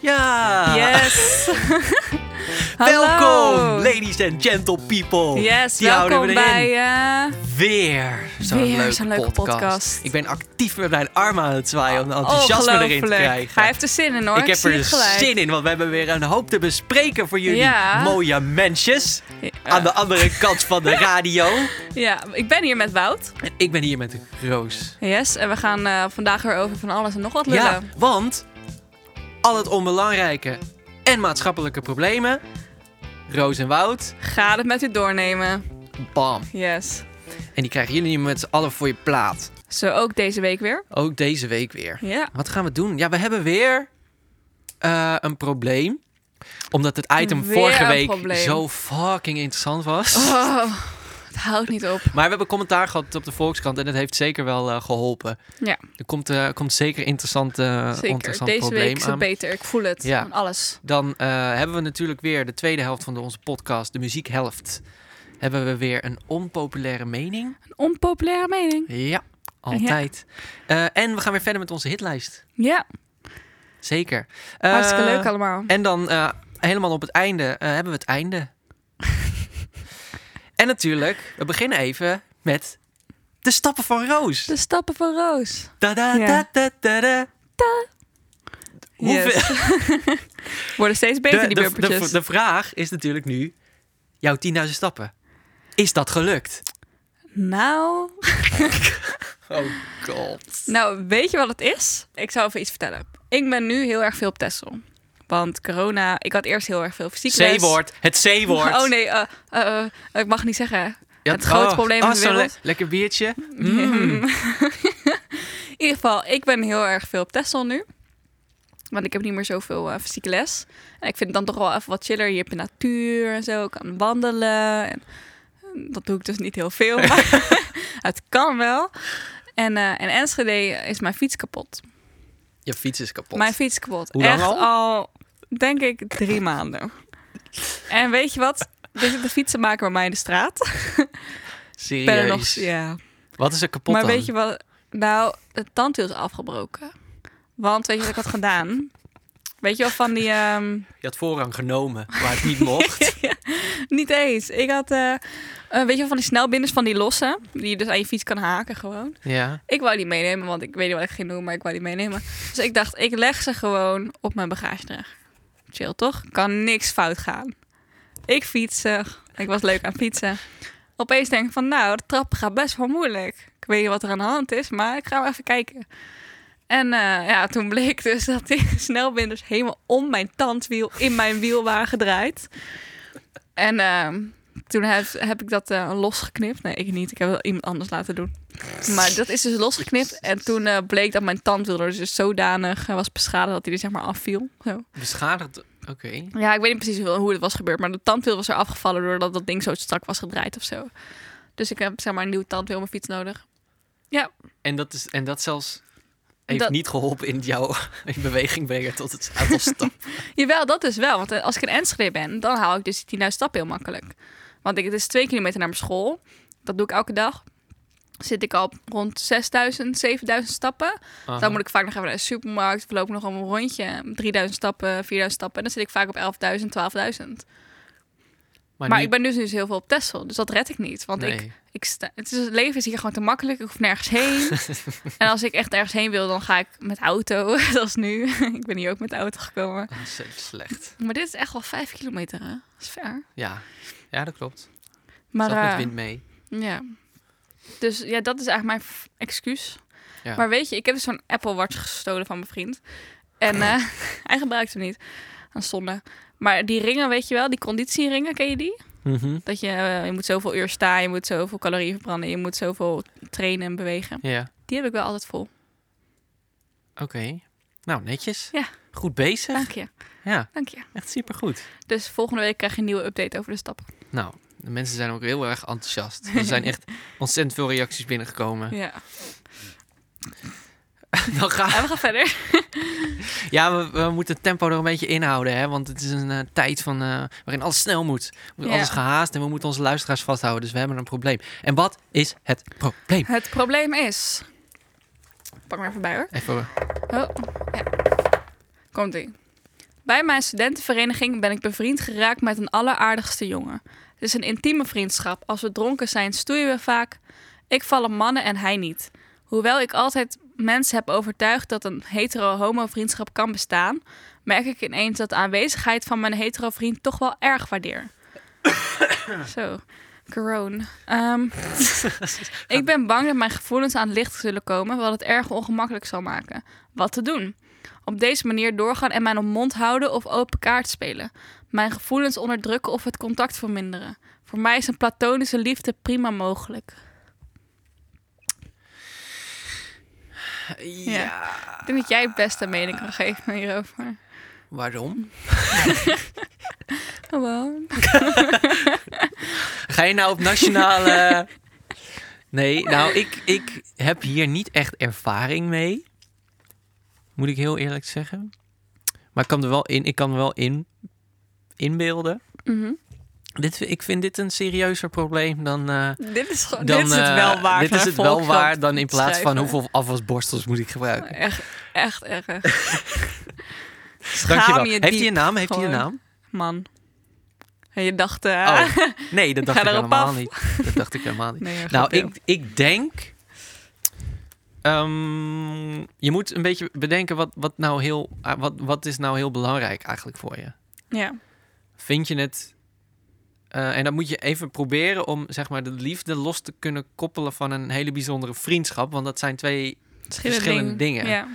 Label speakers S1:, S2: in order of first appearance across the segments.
S1: Ja!
S2: Yes.
S1: Oh,
S2: Hallo.
S1: Welkom, ladies and gentle people.
S2: Yes,
S1: Die houden
S2: welkom
S1: we erin.
S2: bij... eh,
S1: Weer zo'n
S2: Weer
S1: leuke,
S2: zo'n leuke podcast.
S1: Ik ben actief met mijn armen aan het zwaaien om de enthousiasme erin te
S2: ongelooflijk.
S1: krijgen.
S2: Hij heeft er zin in hoor.
S1: ik heb
S2: zie
S1: er
S2: het gelijk.
S1: zin in, want we hebben weer een hoop te bespreken voor jullie
S2: Ja.
S1: mooie mensjes. Aan de andere kant van de radio.
S2: Ja, ik ben hier met Wout.
S1: En ik ben hier met Roos.
S2: Yes, en we gaan eh, vandaag weer over van alles en nog wat lullen.
S1: Ja, want al het onbelangrijke en maatschappelijke problemen. Roos en Wout,
S2: Ga het met u doornemen.
S1: bam.
S2: Yes.
S1: En die krijgen jullie met z'n allen voor je plaat.
S2: Zo ook deze week weer.
S1: Ook deze week weer.
S2: Ja.
S1: Wat gaan we doen? Ja, we hebben weer eh, een probleem. Omdat het item
S2: Weer
S1: vorige
S2: een
S1: week
S2: probleem.
S1: zo fucking interessant was.
S2: Oh, het houdt niet op.
S1: Maar we hebben commentaar gehad op de Volkskrant en dat heeft zeker wel eh, geholpen.
S2: Ja.
S1: Er komt, eh, komt zeker interessant, eh
S2: Zeker.
S1: interessant
S2: Deze
S1: probleem
S2: week is het
S1: aan.
S2: beter. Ik voel het.
S1: Ja.
S2: Van alles.
S1: Dan eh, hebben we natuurlijk weer de tweede helft van de- onze podcast, de muziekhelft. Hebben we weer een onpopulaire mening?
S2: Een onpopulaire mening.
S1: Ja, altijd. Eh, en we gaan weer verder met onze hitlijst.
S2: Ja.
S1: Zeker.
S2: Hartstikke
S1: Eh,
S2: leuk allemaal.
S1: En dan eh, helemaal op het einde eh, hebben we het einde. en natuurlijk, we beginnen even met de stappen van Roos.
S2: De stappen van Roos.
S1: Da da
S2: Ja.
S1: da da da da. Hoeveel-
S2: Yes. Worden steeds beter
S1: de,
S2: die
S1: de,
S2: bumpertjes.
S1: de, de vraag is natuurlijk nu, jouw 10.000 stappen. Is dat gelukt?
S2: Nou,
S1: Oh god.
S2: nou, weet je wat het is? Ik zou even iets vertellen. Ik ben nu heel erg veel op Tesla. Want corona, ik had eerst heel erg veel fysiek les.
S1: C-woord, het C-woord.
S2: Oh nee, eh, eh, eh, ik mag niet zeggen.
S1: Ja,
S2: het grote
S1: oh,
S2: probleem
S1: oh,
S2: in de
S1: zo'n le-
S2: wereld.
S1: lekker biertje. Mm.
S2: In ieder geval, ik ben heel erg veel op Tesla nu. Want ik heb niet meer zoveel eh, fysieke les. En ik vind het dan toch wel even wat chiller. Hier heb je natuur en zo. Ik kan wandelen. En, en dat doe ik dus niet heel veel. Maar het kan wel. En eh in Enschede is mijn fiets kapot.
S1: Je fiets is kapot.
S2: Mijn fiets kapot.
S1: Hoe lang
S2: Echt
S1: al?
S2: denk ik, drie maanden. En weet je wat? Er zitten fietsenmaker bij mij in de straat. Ik
S1: Serieus.
S2: ben er nog... Ja.
S1: Wat is er kapot
S2: maar
S1: dan?
S2: weet je wat? Nou, het tandwiel is afgebroken. Want weet je wat ik had gedaan? Weet je wel van die... ehm,
S1: Je had voorrang genomen waar het niet mocht.
S2: niet eens. Ik had... eh, eh, weet je wel van die snelbinders van die losse? Die je dus aan je fiets kan haken gewoon.
S1: ja.
S2: Ik wou die meenemen, want ik weet niet wat ik ging doen, maar ik wou die meenemen. Dus ik dacht, ik leg ze gewoon op mijn bagagedrager. Chill toch? Kan niks fout gaan. Ik fietsen. Ik was leuk aan fietsen. Opeens denk ik van, nou, de trap gaat best wel moeilijk. Ik weet niet wat er aan de hand is, maar ik ga wel even kijken. En eh, ja, toen bleek dus dat die snelbinders helemaal om mijn tandwiel in mijn wiel waren gedraaid. En ehm, toen heb, heb ik dat eh, losgeknipt. Nee, ik niet. Ik heb wel iemand anders laten doen. Maar dat is dus losgeknipt. En toen eh, bleek dat mijn tandwiel er dus zodanig eh, was beschadigd dat hij er zeg maar afviel. Zo.
S1: Beschadigd. Oké.
S2: Ja, ik weet niet precies hoe, hoe het was gebeurd. Maar de tandwiel was er afgevallen doordat dat ding zo strak was gedraaid of zo. Dus ik heb zeg maar een nieuw tandwiel op mijn fiets nodig.
S1: En dat, is, en dat zelfs heeft
S2: Dat-
S1: niet geholpen in jouw in beweging brengen tot het aantal stappen.
S2: Jawel, dat is wel. Want eh, als ik in Enschede ben, dan haal ik dus die 10.000 stappen heel makkelijk. Want ik, het is twee kilometer naar mijn school. Dat doe ik elke dag. Zit ik al op rond 6.000, 7.000 stappen. Dan moet ik vaak nog even naar de supermarkt. Verloop ik nog een rondje. 3.000 stappen, 4.000 stappen. En dan zit ik vaak op 11.000, 12.000.
S1: maar
S2: Maar,
S1: nu-
S2: ik ben dus, dus heel veel op Tesla. Dus dat red ik niet. Want ik,
S1: nee.
S2: ik sta, het, is, het leven is hier gewoon te makkelijk. Ik hoef nergens heen. en als ik echt ergens heen wil, dan ga ik met auto. Zoals nu. ik ben hier ook met de auto gekomen.
S1: Ontzettend slecht.
S2: Maar dit is echt wel vijf kilometer, hè? Dat is ver.
S1: Ja. ja, dat klopt.
S2: Maar
S1: Zelf met
S2: eh,
S1: wind mee.
S2: ja. Dus ja, dat is eigenlijk mijn f- excuus.
S1: Ja.
S2: Maar weet je, ik heb dus zo'n Apple Watch gestolen van mijn vriend. En eh, hij gebruikt hem niet. Aan zonde. Maar die ringen, weet je wel, die conditieringen, ken je die?
S1: Mhm.
S2: Dat je, eh, je moet zoveel uur staan, je moet zoveel calorieën verbranden, je moet zoveel trainen en bewegen.
S1: Ja,
S2: Die heb ik wel altijd vol.
S1: oké. Nou, netjes.
S2: Ja.
S1: Goed bezig.
S2: Dank je,
S1: Ja,
S2: dank je.
S1: echt supergoed.
S2: Dus volgende week krijg je een nieuwe update over de stappen.
S1: Nou, de mensen zijn ook heel erg enthousiast. Er zijn echt ontzettend veel reacties binnengekomen.
S2: Ja.
S1: Dan gaan
S2: En we gaan verder.
S1: Ja, we, we moeten het tempo er een beetje inhouden, hè? Want het is een eh, tijd van, eh, waarin alles snel moet. We moeten
S2: Ja.
S1: alles gehaast en we moeten onze luisteraars vasthouden. Dus we hebben een probleem. En wat is het probleem?
S2: Het probleem is... Pak maar even bij hoor.
S1: Even,
S2: Oh, ja. Komt ie. Bij mijn studentenvereniging ben ik bevriend geraakt met een alleraardigste jongen. Het is een intieme vriendschap. Als we dronken zijn, stoeien we vaak. Ik val op mannen en hij niet. Hoewel ik altijd mensen heb overtuigd dat een hetero-homo-vriendschap kan bestaan, merk ik ineens dat de aanwezigheid van mijn hetero-vriend toch wel erg waardeer. Zo, corona. Ehm, ik ben bang dat mijn gevoelens aan het licht zullen komen, wat het erg ongemakkelijk zal maken. Wat te doen? Op deze manier doorgaan en mijn mond houden of open kaart spelen. Mijn gevoelens onderdrukken of het contact verminderen. Voor mij is een platonische liefde prima mogelijk.
S1: eh,
S2: Ik denk dat jij het beste mening kan geven hierover.
S1: Waarom?
S2: Oh, Gewoon.
S1: Ga je nou op nationale... Nee, nou, ik, ik heb hier niet echt ervaring mee. Moet ik heel eerlijk zeggen. Maar ik kan er wel in, ik kan er wel in inbeelden.
S2: Mhm.
S1: Dit, ik vind dit een serieuzer probleem dan... eh,
S2: Dit is gewoon.
S1: dan
S2: dit is het wel
S1: eh,
S2: waar.
S1: Dit is
S2: hè,
S1: het wel
S2: Volkskrant
S1: waar dan in plaats van
S2: schrijven. Oh,
S1: hoeveel afwasborstels moet ik gebruiken.
S2: Echt, echt erg. Schaam
S1: Dankjewel.
S2: je
S1: Heeft hij
S2: diep,
S1: een naam? Heeft hij een
S2: gewoon.
S1: naam?
S2: man. En je dacht. eh,
S1: Oh, nee, dat
S2: Ik ga
S1: dacht ik
S2: erop
S1: helemaal
S2: af.
S1: niet. Dat dacht ik helemaal niet.
S2: nee, erg
S1: Nou,
S2: deel.
S1: ik, ik denk. ehm, je moet een beetje bedenken wat, wat, nou heel, ah, wat, wat is nou heel belangrijk eigenlijk voor je.
S2: Ja.
S1: Vind je het. eh, en dan moet je even proberen om zeg maar, de liefde los te kunnen koppelen van een hele bijzondere vriendschap. Want dat zijn twee. verschillende dingen.
S2: Ja.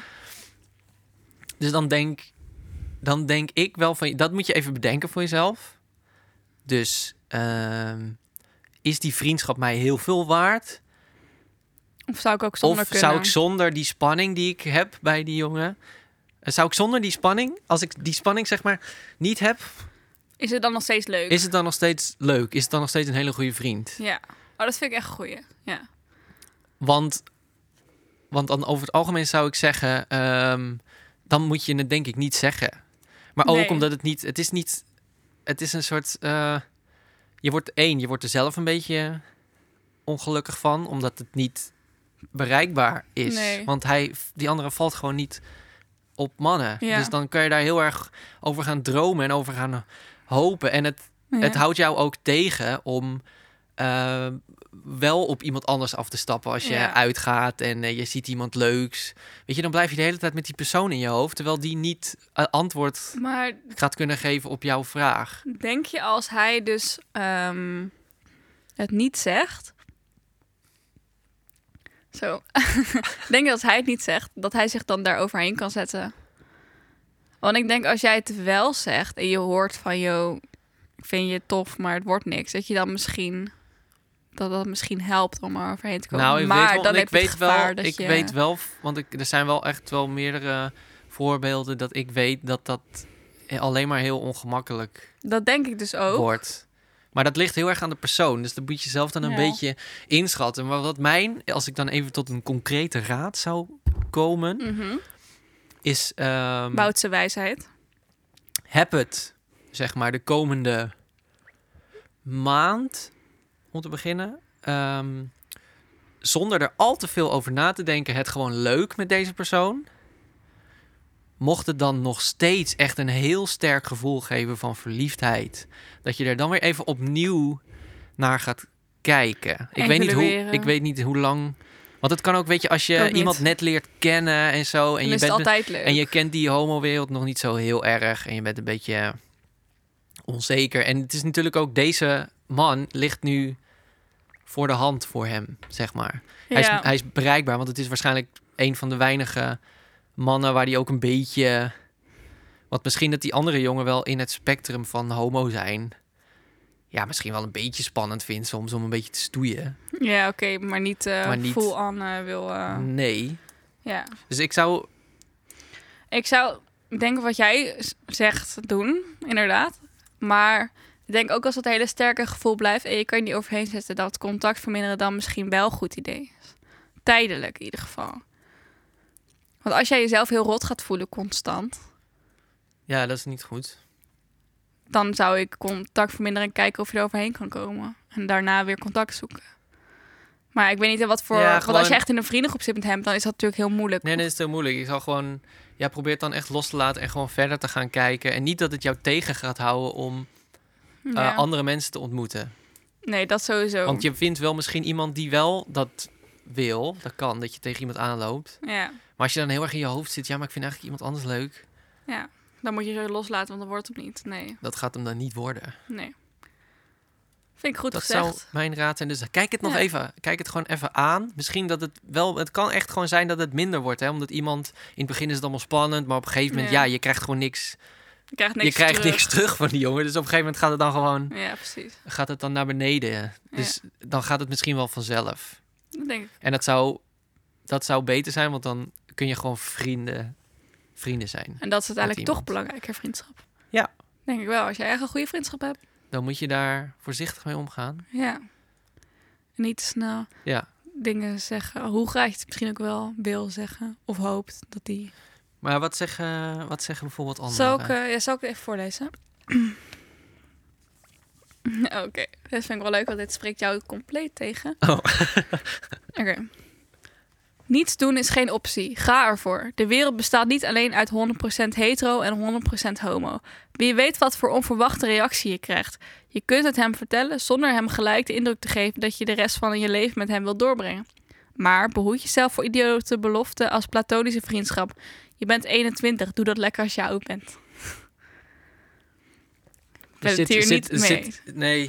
S1: Dus dan denk, dan denk ik wel van. Dat moet je even bedenken voor jezelf. Dus ehm, is die vriendschap mij heel veel waard?
S2: Of zou ik ook zonder
S1: of
S2: kunnen?
S1: zou ik zonder die spanning die ik heb bij die jongen... eh, Zou ik zonder die spanning, als ik die spanning zeg maar niet heb...
S2: Is het dan nog steeds leuk?
S1: Is het dan nog steeds leuk? Is het dan nog steeds een hele goede vriend?
S2: Ja. Oh, dat vind ik echt een goeie. Ja.
S1: Want, want dan over het algemeen zou ik zeggen... ehm, dan moet je het denk ik niet zeggen. Maar ook
S2: Nee.
S1: omdat het niet... Het is niet... Het is een soort... eh, je wordt één, je wordt er zelf een beetje ongelukkig van... omdat het niet bereikbaar is.
S2: Nee.
S1: Want hij, die andere valt gewoon niet op mannen.
S2: Ja.
S1: Dus dan kan je daar heel erg over gaan dromen... en over gaan hopen. En het,
S2: Ja.
S1: het houdt jou ook tegen om eh, wel op iemand anders af te stappen als je
S2: Ja.
S1: uitgaat en eh, je ziet iemand leuks. Weet je, dan blijf je de hele tijd met die persoon in je hoofd, terwijl die niet eh, antwoord
S2: Maar
S1: gaat kunnen geven op jouw vraag.
S2: denk je als hij dus ehm, het niet zegt... Zo. denk je als hij het niet zegt, dat hij zich dan daar overheen kan zetten? Want ik denk als jij het wel zegt en je hoort van... Yo, ik vind je tof, maar het wordt niks. Dat je dan misschien... Dat dat misschien helpt om er overheen te komen.
S1: nou, ik
S2: maar
S1: weet wel,
S2: dan
S1: ik
S2: heb je
S1: weet
S2: het gevaar
S1: wel,
S2: dat
S1: ik
S2: je...
S1: weet wel, want ik, er zijn wel echt wel meerdere voorbeelden dat ik weet dat dat eh, alleen maar heel ongemakkelijk
S2: Dat denk ik dus ook.
S1: wordt. Maar dat ligt heel erg aan de persoon. Dus dat moet je zelf dan een
S2: Ja.
S1: beetje inschatten. Maar wat mijn, als ik dan even tot een concrete raad zou komen,
S2: Mhm.
S1: is: ehm,
S2: Boutse wijsheid.
S1: heb het, zeg maar, de komende maand, om te beginnen, ehm, zonder er al te veel over na te denken, het gewoon leuk met deze persoon. Mocht het dan nog steeds echt een heel sterk gevoel geven van verliefdheid, dat je er dan weer even opnieuw naar gaat kijken. Ik weet, niet hoe,
S2: Evalueren.
S1: ik weet niet hoe lang. Want het kan ook, weet je, als
S2: Ook
S1: je
S2: niet.
S1: iemand net leert kennen en zo. En
S2: En
S1: je
S2: is
S1: bent
S2: het altijd leuk.
S1: en je kent die homo-wereld nog niet zo heel erg. En je bent een beetje onzeker. En het is natuurlijk ook deze man ligt nu voor de hand voor hem, zeg maar. Hij,
S2: Ja.
S1: is, hij is bereikbaar, want het is waarschijnlijk een van de weinige mannen waar die ook een beetje. Want misschien dat die andere jongen wel in het spectrum van homo zijn. Ja, misschien wel een beetje spannend vindt soms om een beetje te stoeien.
S2: Ja, oké, maar niet, eh
S1: Maar niet- Mm.
S2: full on eh, wil. eh,
S1: Nee.
S2: Ja.
S1: Dus ik zou.
S2: Ik zou denken wat jij z- zegt doen, inderdaad. Maar ik denk ook als dat hele sterke gevoel blijft en je kan je niet overheen zetten, dat contact verminderen dan misschien wel een goed idee is. Tijdelijk in ieder geval. Want als jij jezelf heel rot gaat voelen constant,
S1: Ja, dat is niet goed.
S2: dan zou ik contact verminderen en kijken of je er overheen kan komen. En daarna weer contact zoeken. Maar ik weet niet in wat voor...
S1: Ja,
S2: Want als je
S1: gewoon-
S2: echt in een vriendengroep zit met hem, dan is dat natuurlijk heel moeilijk.
S1: Nee, dat is het heel moeilijk. Ik zal gewoon... Ja, probeer het dan echt los te laten en gewoon verder te gaan kijken. En niet dat het jou tegen gaat houden om eh,
S2: Ja. Oh.
S1: andere mensen te ontmoeten.
S2: Nee, dat sowieso.
S1: Want je vindt wel misschien iemand die wel dat wil. Dat kan, dat je tegen iemand aanloopt.
S2: Ja,
S1: Maar als je dan heel erg in je hoofd zit... Ja, maar ik vind eigenlijk iemand anders leuk.
S2: ja. Dan moet je zo loslaten, want dan wordt het niet. Nee,
S1: Dat gaat hem dan niet worden.
S2: nee. Vind ik goed
S1: dat
S2: gezegd.
S1: zou mijn raad zijn. Dus kijk het nog
S2: Ja.
S1: even. Kijk het gewoon even aan. Misschien dat het wel. Het kan echt gewoon zijn dat het minder wordt. Hè? Omdat iemand. In het begin is het allemaal spannend. Maar op een gegeven moment.
S2: Ja.
S1: Ja, je krijgt gewoon niks.
S2: Je krijgt niks
S1: je krijgt
S2: terug.
S1: niks terug van die jongen. Dus op een gegeven moment gaat het dan gewoon.
S2: Ja, precies.
S1: Gaat het dan naar beneden. Dus dan gaat het misschien wel vanzelf.
S2: Dat denk ik.
S1: En dat zou. Dat zou beter zijn. Want dan kun je gewoon vrienden. Vrienden zijn.
S2: En dat is uiteindelijk toch
S1: iemand.
S2: belangrijker, vriendschap.
S1: Ja.
S2: Denk ik wel. Als je echt een goede vriendschap hebt.
S1: Dan moet je daar voorzichtig mee omgaan.
S2: Ja. En niet te snel
S1: Ja.
S2: dingen zeggen. Hoe graag je het misschien ook wel wil zeggen. Of hoopt dat die...
S1: Maar wat zeggen, wat zeggen bijvoorbeeld anderen?
S2: Zal ik, eh, ja, zal ik het even voorlezen? Oké. Dat vind ik wel leuk, want dit spreekt jou compleet tegen.
S1: Oh.
S2: Oké. Niets doen is geen optie. Ga ervoor. De wereld bestaat niet alleen uit 100% hetero en 100% homo. Wie weet wat voor onverwachte reactie je krijgt. Je kunt het hem vertellen zonder hem gelijk de indruk te geven dat je de rest van je leven met hem wilt doorbrengen. Maar behoed jezelf voor idiote beloften als platonische vriendschap. Je bent 21, doe dat lekker als je oud bent. Ik ben
S1: Er
S2: het hier niet mee.
S1: zit- nee.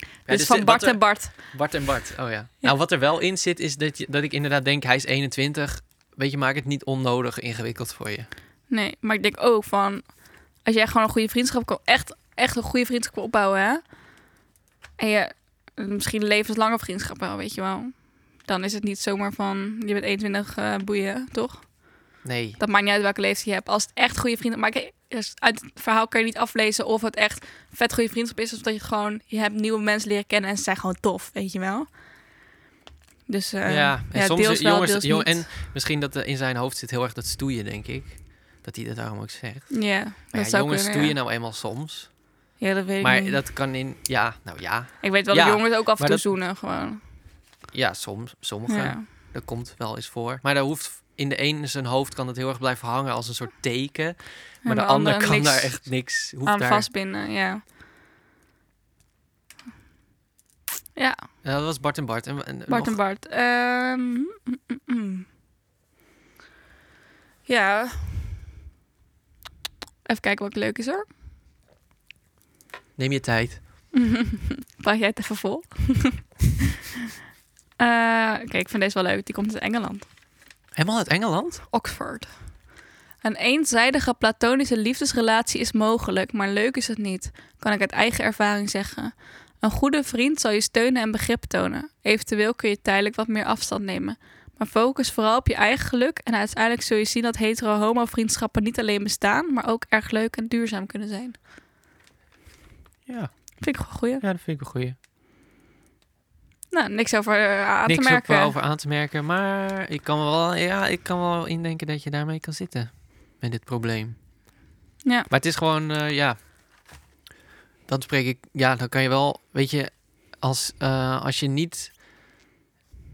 S1: Ja,
S2: dus,
S1: er
S2: van
S1: zit-
S2: Bart
S1: wat er-
S2: en Bart.
S1: Bart en Bart, oh ja. Nou, wat er wel in zit, is dat, je, dat ik inderdaad denk, hij is 21. Weet je, maak het niet onnodig ingewikkeld voor je.
S2: Nee, maar ik denk ook van... Als jij gewoon een goede vriendschap kan... Echt, echt een goede vriendschap kan opbouwen, hè? En je misschien een levenslange vriendschap wel, weet je wel. Dan is het niet zomaar van... Je bent 21, eh, boeien, toch?
S1: Nee.
S2: Dat maakt niet uit welke leeftijd je hebt. Als het echt goede vrienden... Maar kijk, dus uit het verhaal kan je niet aflezen of het echt vet goede vriendschap is. Of dat je het gewoon... Je hebt nieuwe mensen leren kennen en ze zijn gewoon tof, weet je wel. Dus eh,
S1: ja, en soms
S2: deels wel,
S1: jongens,
S2: deels
S1: jong-
S2: niet.
S1: en misschien dat er in zijn hoofd zit heel erg dat stoeien, denk ik. Dat hij dat daarom ook zegt.
S2: Ja,
S1: Maar
S2: dat
S1: ja,
S2: zou
S1: jongens
S2: kunnen,
S1: stoeien
S2: ja.
S1: nou eenmaal soms.
S2: Ja, dat weet ik
S1: Maar
S2: niet.
S1: dat kan in, ja, nou ja,
S2: Ik weet wel
S1: Ja,
S2: dat jongens ook af en
S1: maar
S2: toe
S1: dat-
S2: zoenen gewoon.
S1: ja, soms, sommigen.
S2: Ja.
S1: Dat komt wel eens voor. Maar daar hoeft, in de ene zijn hoofd kan het heel erg blijven hangen als een soort teken. Maar de,
S2: de
S1: ander
S2: andere
S1: kan
S2: niks
S1: daar echt niks, hoeft
S2: Aan
S1: daar Eh,
S2: vastbinden, ja. Ja,
S1: Ja, dat was Bart en Bart. En, en
S2: Bart
S1: nog-
S2: en Bart. Ehm, mm, mm, mm. Ja. Even kijken wat leuk is hoor.
S1: Neem je tijd.
S2: Praat jij het even vol? Eh, Oké, ik vind deze wel leuk. Die komt uit Engeland.
S1: Helemaal uit Engeland?
S2: Oxford. Een eenzijdige platonische liefdesrelatie is mogelijk, maar leuk is het niet, kan ik uit eigen ervaring zeggen. Een goede vriend zal je steunen en begrip tonen. Eventueel kun je tijdelijk wat meer afstand nemen. Maar focus vooral op je eigen geluk en uiteindelijk zul je zien dat hetero-homo-vriendschappen niet alleen bestaan, maar ook erg leuk en duurzaam kunnen zijn.
S1: Ja,
S2: Vind ik wel een goeie.
S1: ja dat vind ik een goeie.
S2: Nou, niks over eh, aan
S1: Niks
S2: te
S1: op,
S2: merken.
S1: eh, over aan te merken, maar ik kan, wel, ja, ik kan wel indenken dat je daarmee kan zitten. Met dit probleem.
S2: Ja.
S1: Maar het is gewoon, eh, ja. Dan spreek ik, ja, dan kan je wel, weet je, als, eh, als je niet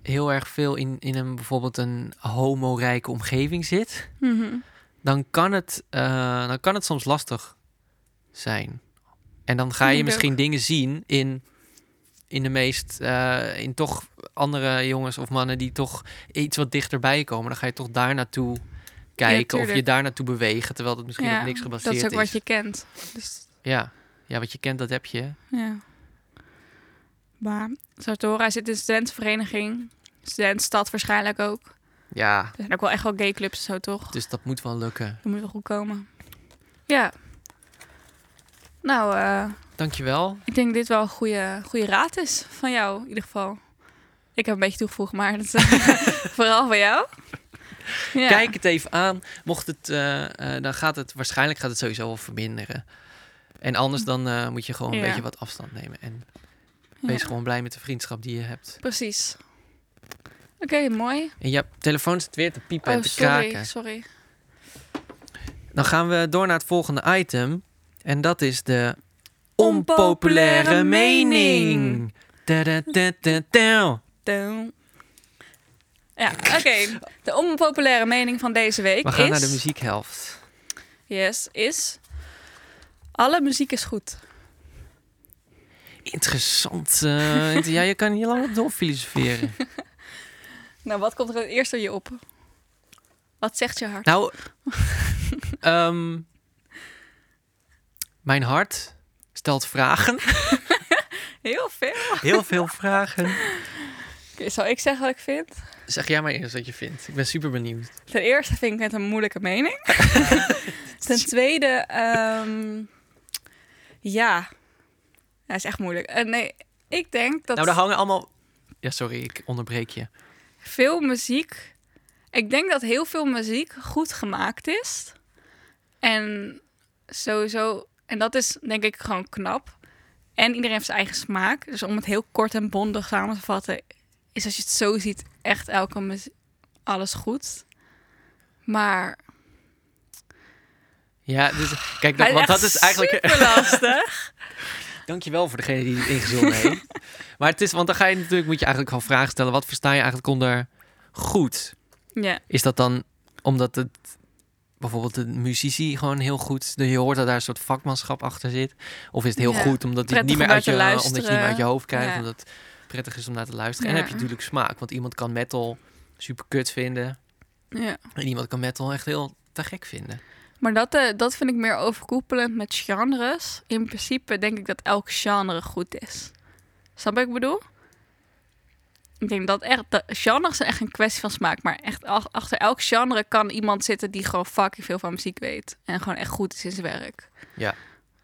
S1: heel erg veel in, in een bijvoorbeeld een homorijke omgeving zit,
S2: Mhm.
S1: dan kan het, eh, dan kan het soms lastig zijn. En dan ga
S2: Ik
S1: je
S2: denk
S1: misschien dingen zien in, in de meest, eh, in toch andere jongens of mannen die toch iets wat dichterbij komen. Dan ga je toch daar naartoe kijken of je
S2: tuurlijk.
S1: daar naartoe bewegen, terwijl dat misschien op niks
S2: dat
S1: gebaseerd
S2: is
S1: is.
S2: ook wat je kent. Dus
S1: ja. ja, wat je kent, dat heb je.
S2: Ja. Maar Sartora zit in de studentenvereniging. Studentenstad waarschijnlijk ook.
S1: Ja,
S2: Er zijn ook wel echt wel gayclubs en zo, toch?
S1: dus dat moet wel lukken.
S2: Dat moet wel goed komen. Ja. Nou, eh,
S1: Dankjewel.
S2: ik denk dit wel een goede, goede raad is van jou, in ieder geval. Ik heb een beetje toegevoegd, maar dat is eh, vooral van jou. Ja.
S1: Kijk het even aan. Mocht het, eh, eh, dan gaat het waarschijnlijk gaat het sowieso wel verminderen. En anders dan eh, moet je gewoon een
S2: Ja.
S1: beetje wat afstand nemen. En
S2: Ja,
S1: wees gewoon blij met de vriendschap die je hebt.
S2: Precies. Oké, mooi.
S1: En je telefoon zit weer te piepen
S2: Oh,
S1: en te
S2: sorry,
S1: kraken.
S2: sorry.
S1: Dan gaan we door naar het volgende item. En dat is de onpopulaire
S2: Onpopulaire
S1: mening.
S2: mening.
S1: Da-da-da-da-da.
S2: Down. Ja, oké. De onpopulaire mening van deze week
S1: We gaan
S2: is...
S1: naar de muziekhelft.
S2: Yes, is... Alle muziek is goed.
S1: Interessant. eh, inter- ja, je kan hier lang op door filosoferen.
S2: Nou, wat komt er het eerst door je op? Wat zegt je hart?
S1: Nou, ehm, mijn hart stelt vragen.
S2: Heel veel.
S1: Heel veel vragen.
S2: Oké, zal ik zeggen wat ik vind?
S1: Zeg jij maar eerst wat je vindt. Ik ben super benieuwd.
S2: Ten eerste vind ik het een moeilijke mening. Ten tweede, ehm, ja. Ja, is echt moeilijk. Eh, nee, ik denk dat
S1: Nou, daar hangen allemaal... Ja, sorry, ik onderbreek je.
S2: veel muziek. Ik denk dat heel veel muziek goed gemaakt is. En sowieso, en dat is denk ik gewoon knap. En iedereen heeft zijn eigen smaak. Dus om het heel kort en bondig samen te vatten, is als je het zo ziet, echt elke muziek, alles goed. Maar
S1: Ja, dus kijk,
S2: Hij
S1: dat,
S2: is
S1: want
S2: echt
S1: dat is eigenlijk...
S2: superlastig.
S1: Dankjewel voor degene die het ingezonden heeft. Maar het is, want dan ga je natuurlijk, moet je eigenlijk gewoon vragen stellen. Wat versta je eigenlijk onder goed?
S2: ja,
S1: Is dat dan omdat het bijvoorbeeld de muzici gewoon heel goed, je hoort dat daar een soort vakmanschap achter zit? Of is het heel
S2: Ja.
S1: goed omdat, je het
S2: Prettig
S1: niet meer
S2: om
S1: uit je,
S2: naar te
S1: omdat je het niet meer uit je
S2: luisteren.
S1: hoofd krijgt,
S2: Ja.
S1: omdat het prettig is om naar te luisteren? En
S2: Ja.
S1: heb je natuurlijk smaak, want iemand kan metal super kut vinden
S2: ja.
S1: en iemand kan metal echt heel te gek vinden.
S2: Maar dat, eh, dat vind ik meer overkoepelend met genres. In principe denk ik dat elk genre goed is. Snap je wat ik bedoel? Ik denk dat echt, dat genres zijn echt een kwestie van smaak. Maar echt ach- achter elk genre kan iemand zitten die gewoon fucking veel van muziek weet. En gewoon echt goed is in zijn werk.
S1: Ja.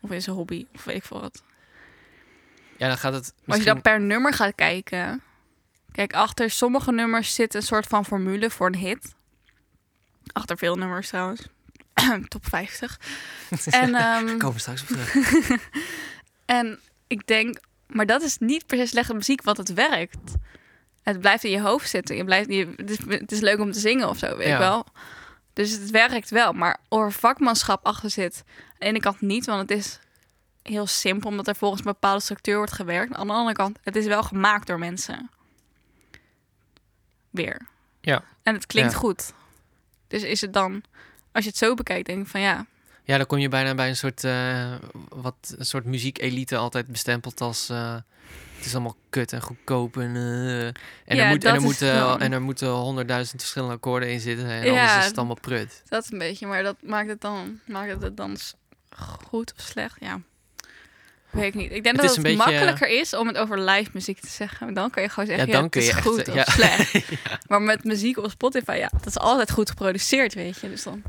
S2: Of in zijn hobby, of weet ik veel wat.
S1: Ja, dan gaat het.
S2: Maar als je
S1: misschien-
S2: dan per nummer gaat kijken. Kijk, achter sommige nummers zit een soort van formule voor een hit. Achter veel nummers trouwens. Top 50. En, ehm,
S1: Komen we straks op terug.
S2: en ik denk, maar dat is niet per se slechte muziek, want het werkt. Het blijft in je hoofd zitten. Je blijft, je, het, is, het is leuk om te zingen of zo, weet
S1: Ja.
S2: ik wel. Dus het werkt wel, maar er vakmanschap achter zit. Aan de ene kant niet, want het is heel simpel, omdat er volgens een bepaalde structuur wordt gewerkt. Aan de andere kant, het is wel gemaakt door mensen. Weer.
S1: Ja.
S2: En het klinkt
S1: Ja.
S2: goed. Dus is het dan, als je het zo bekijkt, denk ik van ja,
S1: Ja, dan kom je bijna bij een soort, eh, wat, een soort muziekelite altijd bestempeld als... eh, het is allemaal kut en goedkoop en... eh, en,
S2: Ja,
S1: er moet, en, er
S2: dat is
S1: moeten,
S2: dan.
S1: en er moeten honderdduizend verschillende akkoorden in zitten en
S2: Ja.
S1: anders is het allemaal prut.
S2: Dat een beetje, maar dat maakt het dan, maakt het het dan s- goed of slecht? Ja. Weet ik niet. Ik denk
S1: Het
S2: dat
S1: is
S2: het
S1: een beetje-
S2: makkelijker is om het over live muziek te zeggen. Dan kan je gewoon zeggen,
S1: Ja,
S2: ja,
S1: dan
S2: het
S1: kun
S2: is
S1: je echt,
S2: goed
S1: eh,
S2: of
S1: ja.
S2: slecht. Maar met muziek op Spotify, ja, dat is altijd goed geproduceerd, weet je. Dus dan...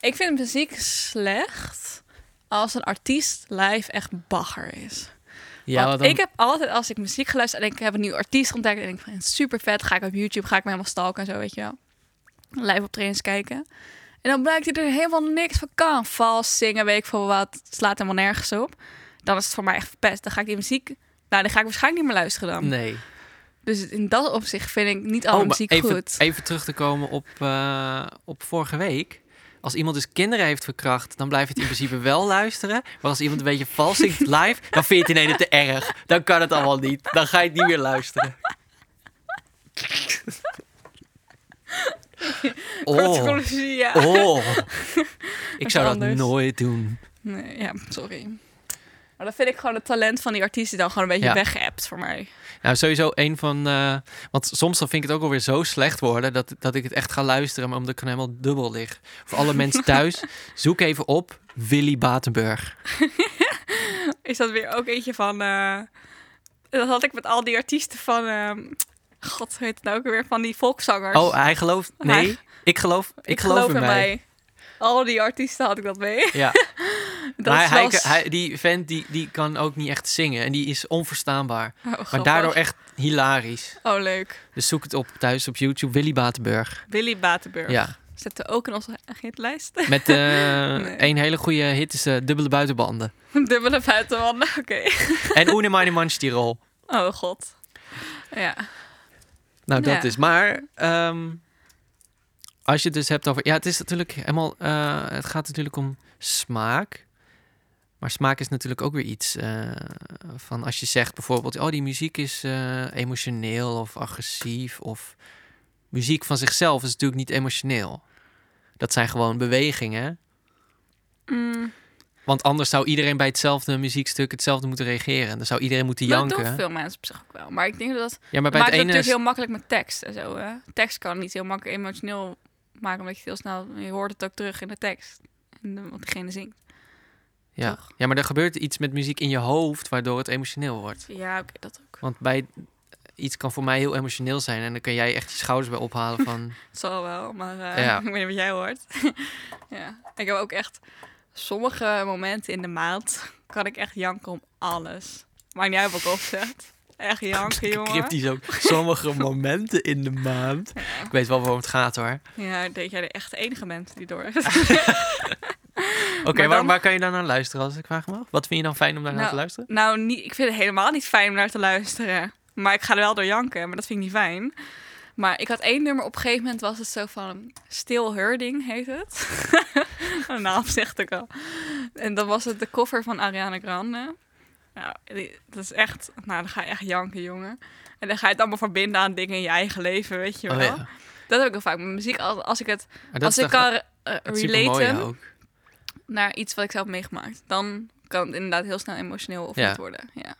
S2: Ik vind muziek slecht als een artiest live echt bagger is.
S1: Ja,
S2: Want
S1: want dan-
S2: ik heb altijd, als ik muziek geluisterd en ik heb een nieuw artiest ontdekt en ik denk van super vet, ga ik op YouTube, ga ik me helemaal stalken en zo, weet je wel. Live optredens kijken. En dan blijkt hij er helemaal niks van kan. Vals zingen, weet ik veel wat, slaat helemaal nergens op. Dan is het voor mij echt verpest. Dan ga ik die muziek, nou, dan ga ik waarschijnlijk niet meer luisteren dan.
S1: nee.
S2: Dus in dat opzicht vind ik niet alle
S1: Oh, maar
S2: muziek
S1: even,
S2: goed.
S1: even terug te komen op, eh, op vorige week. Als iemand dus kinderen heeft verkracht, dan blijf je het in principe wel luisteren. Maar als iemand een beetje vals zingt live, dan vind je het ineens te erg. Dan kan het allemaal niet. Dan ga je het niet meer luisteren. Oh,
S2: Conclusie, ja.
S1: oh. Ik zou dat
S2: anders.
S1: nooit doen.
S2: Nee, ja, sorry. Maar dan vind ik gewoon het talent van die artiest die dan gewoon een
S1: Ja.
S2: beetje weggeëpt voor mij.
S1: Nou, sowieso een van... eh, want soms dan vind ik het ook alweer zo slecht worden... dat, dat ik het echt ga luisteren, maar omdat ik dan helemaal dubbel lig. Voor alle mensen thuis, zoek even op Willy Batenburg.
S2: is dat weer ook eentje van. eh, dat had ik met al die artiesten van. ehm, God, hoe heet het nou ook weer? Van die volkszangers.
S1: Oh, hij gelooft... Nee,
S2: Hij-
S1: ik geloof, ik geloof, in mij.
S2: Al die artiesten had ik dat mee.
S1: Ja.
S2: Dat
S1: maar
S2: is
S1: hij,
S2: wel s-
S1: hij- die vent die, die kan ook niet echt zingen. En die is onverstaanbaar.
S2: Oh,
S1: Maar
S2: grappig.
S1: daardoor echt hilarisch.
S2: Oh, leuk.
S1: Dus zoek het op thuis op YouTube. Willy Batenburg.
S2: Willy Batenburg.
S1: Ja.
S2: Zetten we ook in onze hitlijst.
S1: Met eh
S2: Nee.
S1: een hele goede hit is eh, Dubbele Buitenbanden.
S2: Dubbele buitenwanden. Oké.
S1: En Oene Meine Manstirol.
S2: Oh, god. Ja.
S1: Nou, dat
S2: Ja.
S1: is. Maar ehm, als je het dus hebt over. Ja, het is natuurlijk helemaal. eh, het gaat natuurlijk om smaak. Maar smaak is natuurlijk ook weer iets eh, van als je zegt bijvoorbeeld, oh die muziek is eh, emotioneel of agressief of muziek van zichzelf is natuurlijk niet emotioneel. Dat zijn gewoon bewegingen.
S2: Mm,
S1: Want anders zou iedereen bij hetzelfde muziekstuk hetzelfde moeten reageren. Dan zou iedereen moeten
S2: maar dat doen
S1: janken.
S2: veel mensen op zich ook wel. Maar ik denk dat dat
S1: Ja, maar bij
S2: maakt
S1: het
S2: het
S1: ene
S2: natuurlijk
S1: is-
S2: heel makkelijk met tekst en zo. Hè? Tekst kan niet heel makkelijk emotioneel maken, omdat je het heel snel je hoort het ook terug in de tekst, in de- wat degene zingt.
S1: ja.
S2: toch?
S1: ja, maar er gebeurt iets met muziek in je hoofd waardoor het emotioneel wordt.
S2: Ja, oké, dat ook.
S1: Want bij iets kan voor mij heel emotioneel zijn en dan kun jij echt je schouders bij ophalen van
S2: Het zal wel, maar eh,
S1: Ja.
S2: ik weet niet wat jij hoort. ja. Ik heb ook echt sommige momenten in de maand kan ik echt janken om alles. Maakt niet uit wat opzet. Echt janken, jongen.
S1: cryptisch ook sommige momenten in de maand. Ik weet wel waarom het gaat hoor.
S2: Ja, ik denk jij de echt enige bent die door.
S1: Oké, waar,
S2: Maar dan-
S1: waar kan je dan naar luisteren als ik vraag me af? Wat vind je dan fijn om daarnaar
S2: Nou,
S1: te luisteren?
S2: nou, niet, ik vind het helemaal niet fijn om naar te luisteren. Maar ik ga er wel door janken, maar dat vind ik niet fijn. Maar ik had één nummer, op een gegeven moment was het zo van... Still Herding heet het. Een naam zegt ook al. En dan was het de cover van Ariana Grande. Nou, die- dat is echt... Nou, dan ga je echt janken, jongen. En dan ga je het allemaal verbinden aan dingen in je eigen leven, weet je wel.
S1: Oh, ja. Maar
S2: Dat heb ik al vaak met muziek. Als, als ik het
S1: dat
S2: als
S1: is
S2: ik
S1: toch
S2: kan eh,
S1: het supermooie
S2: relaten
S1: ook.
S2: naar iets wat ik zelf heb meegemaakt... dan kan het inderdaad heel snel emotioneel of
S1: Ja.
S2: niet worden. Ja.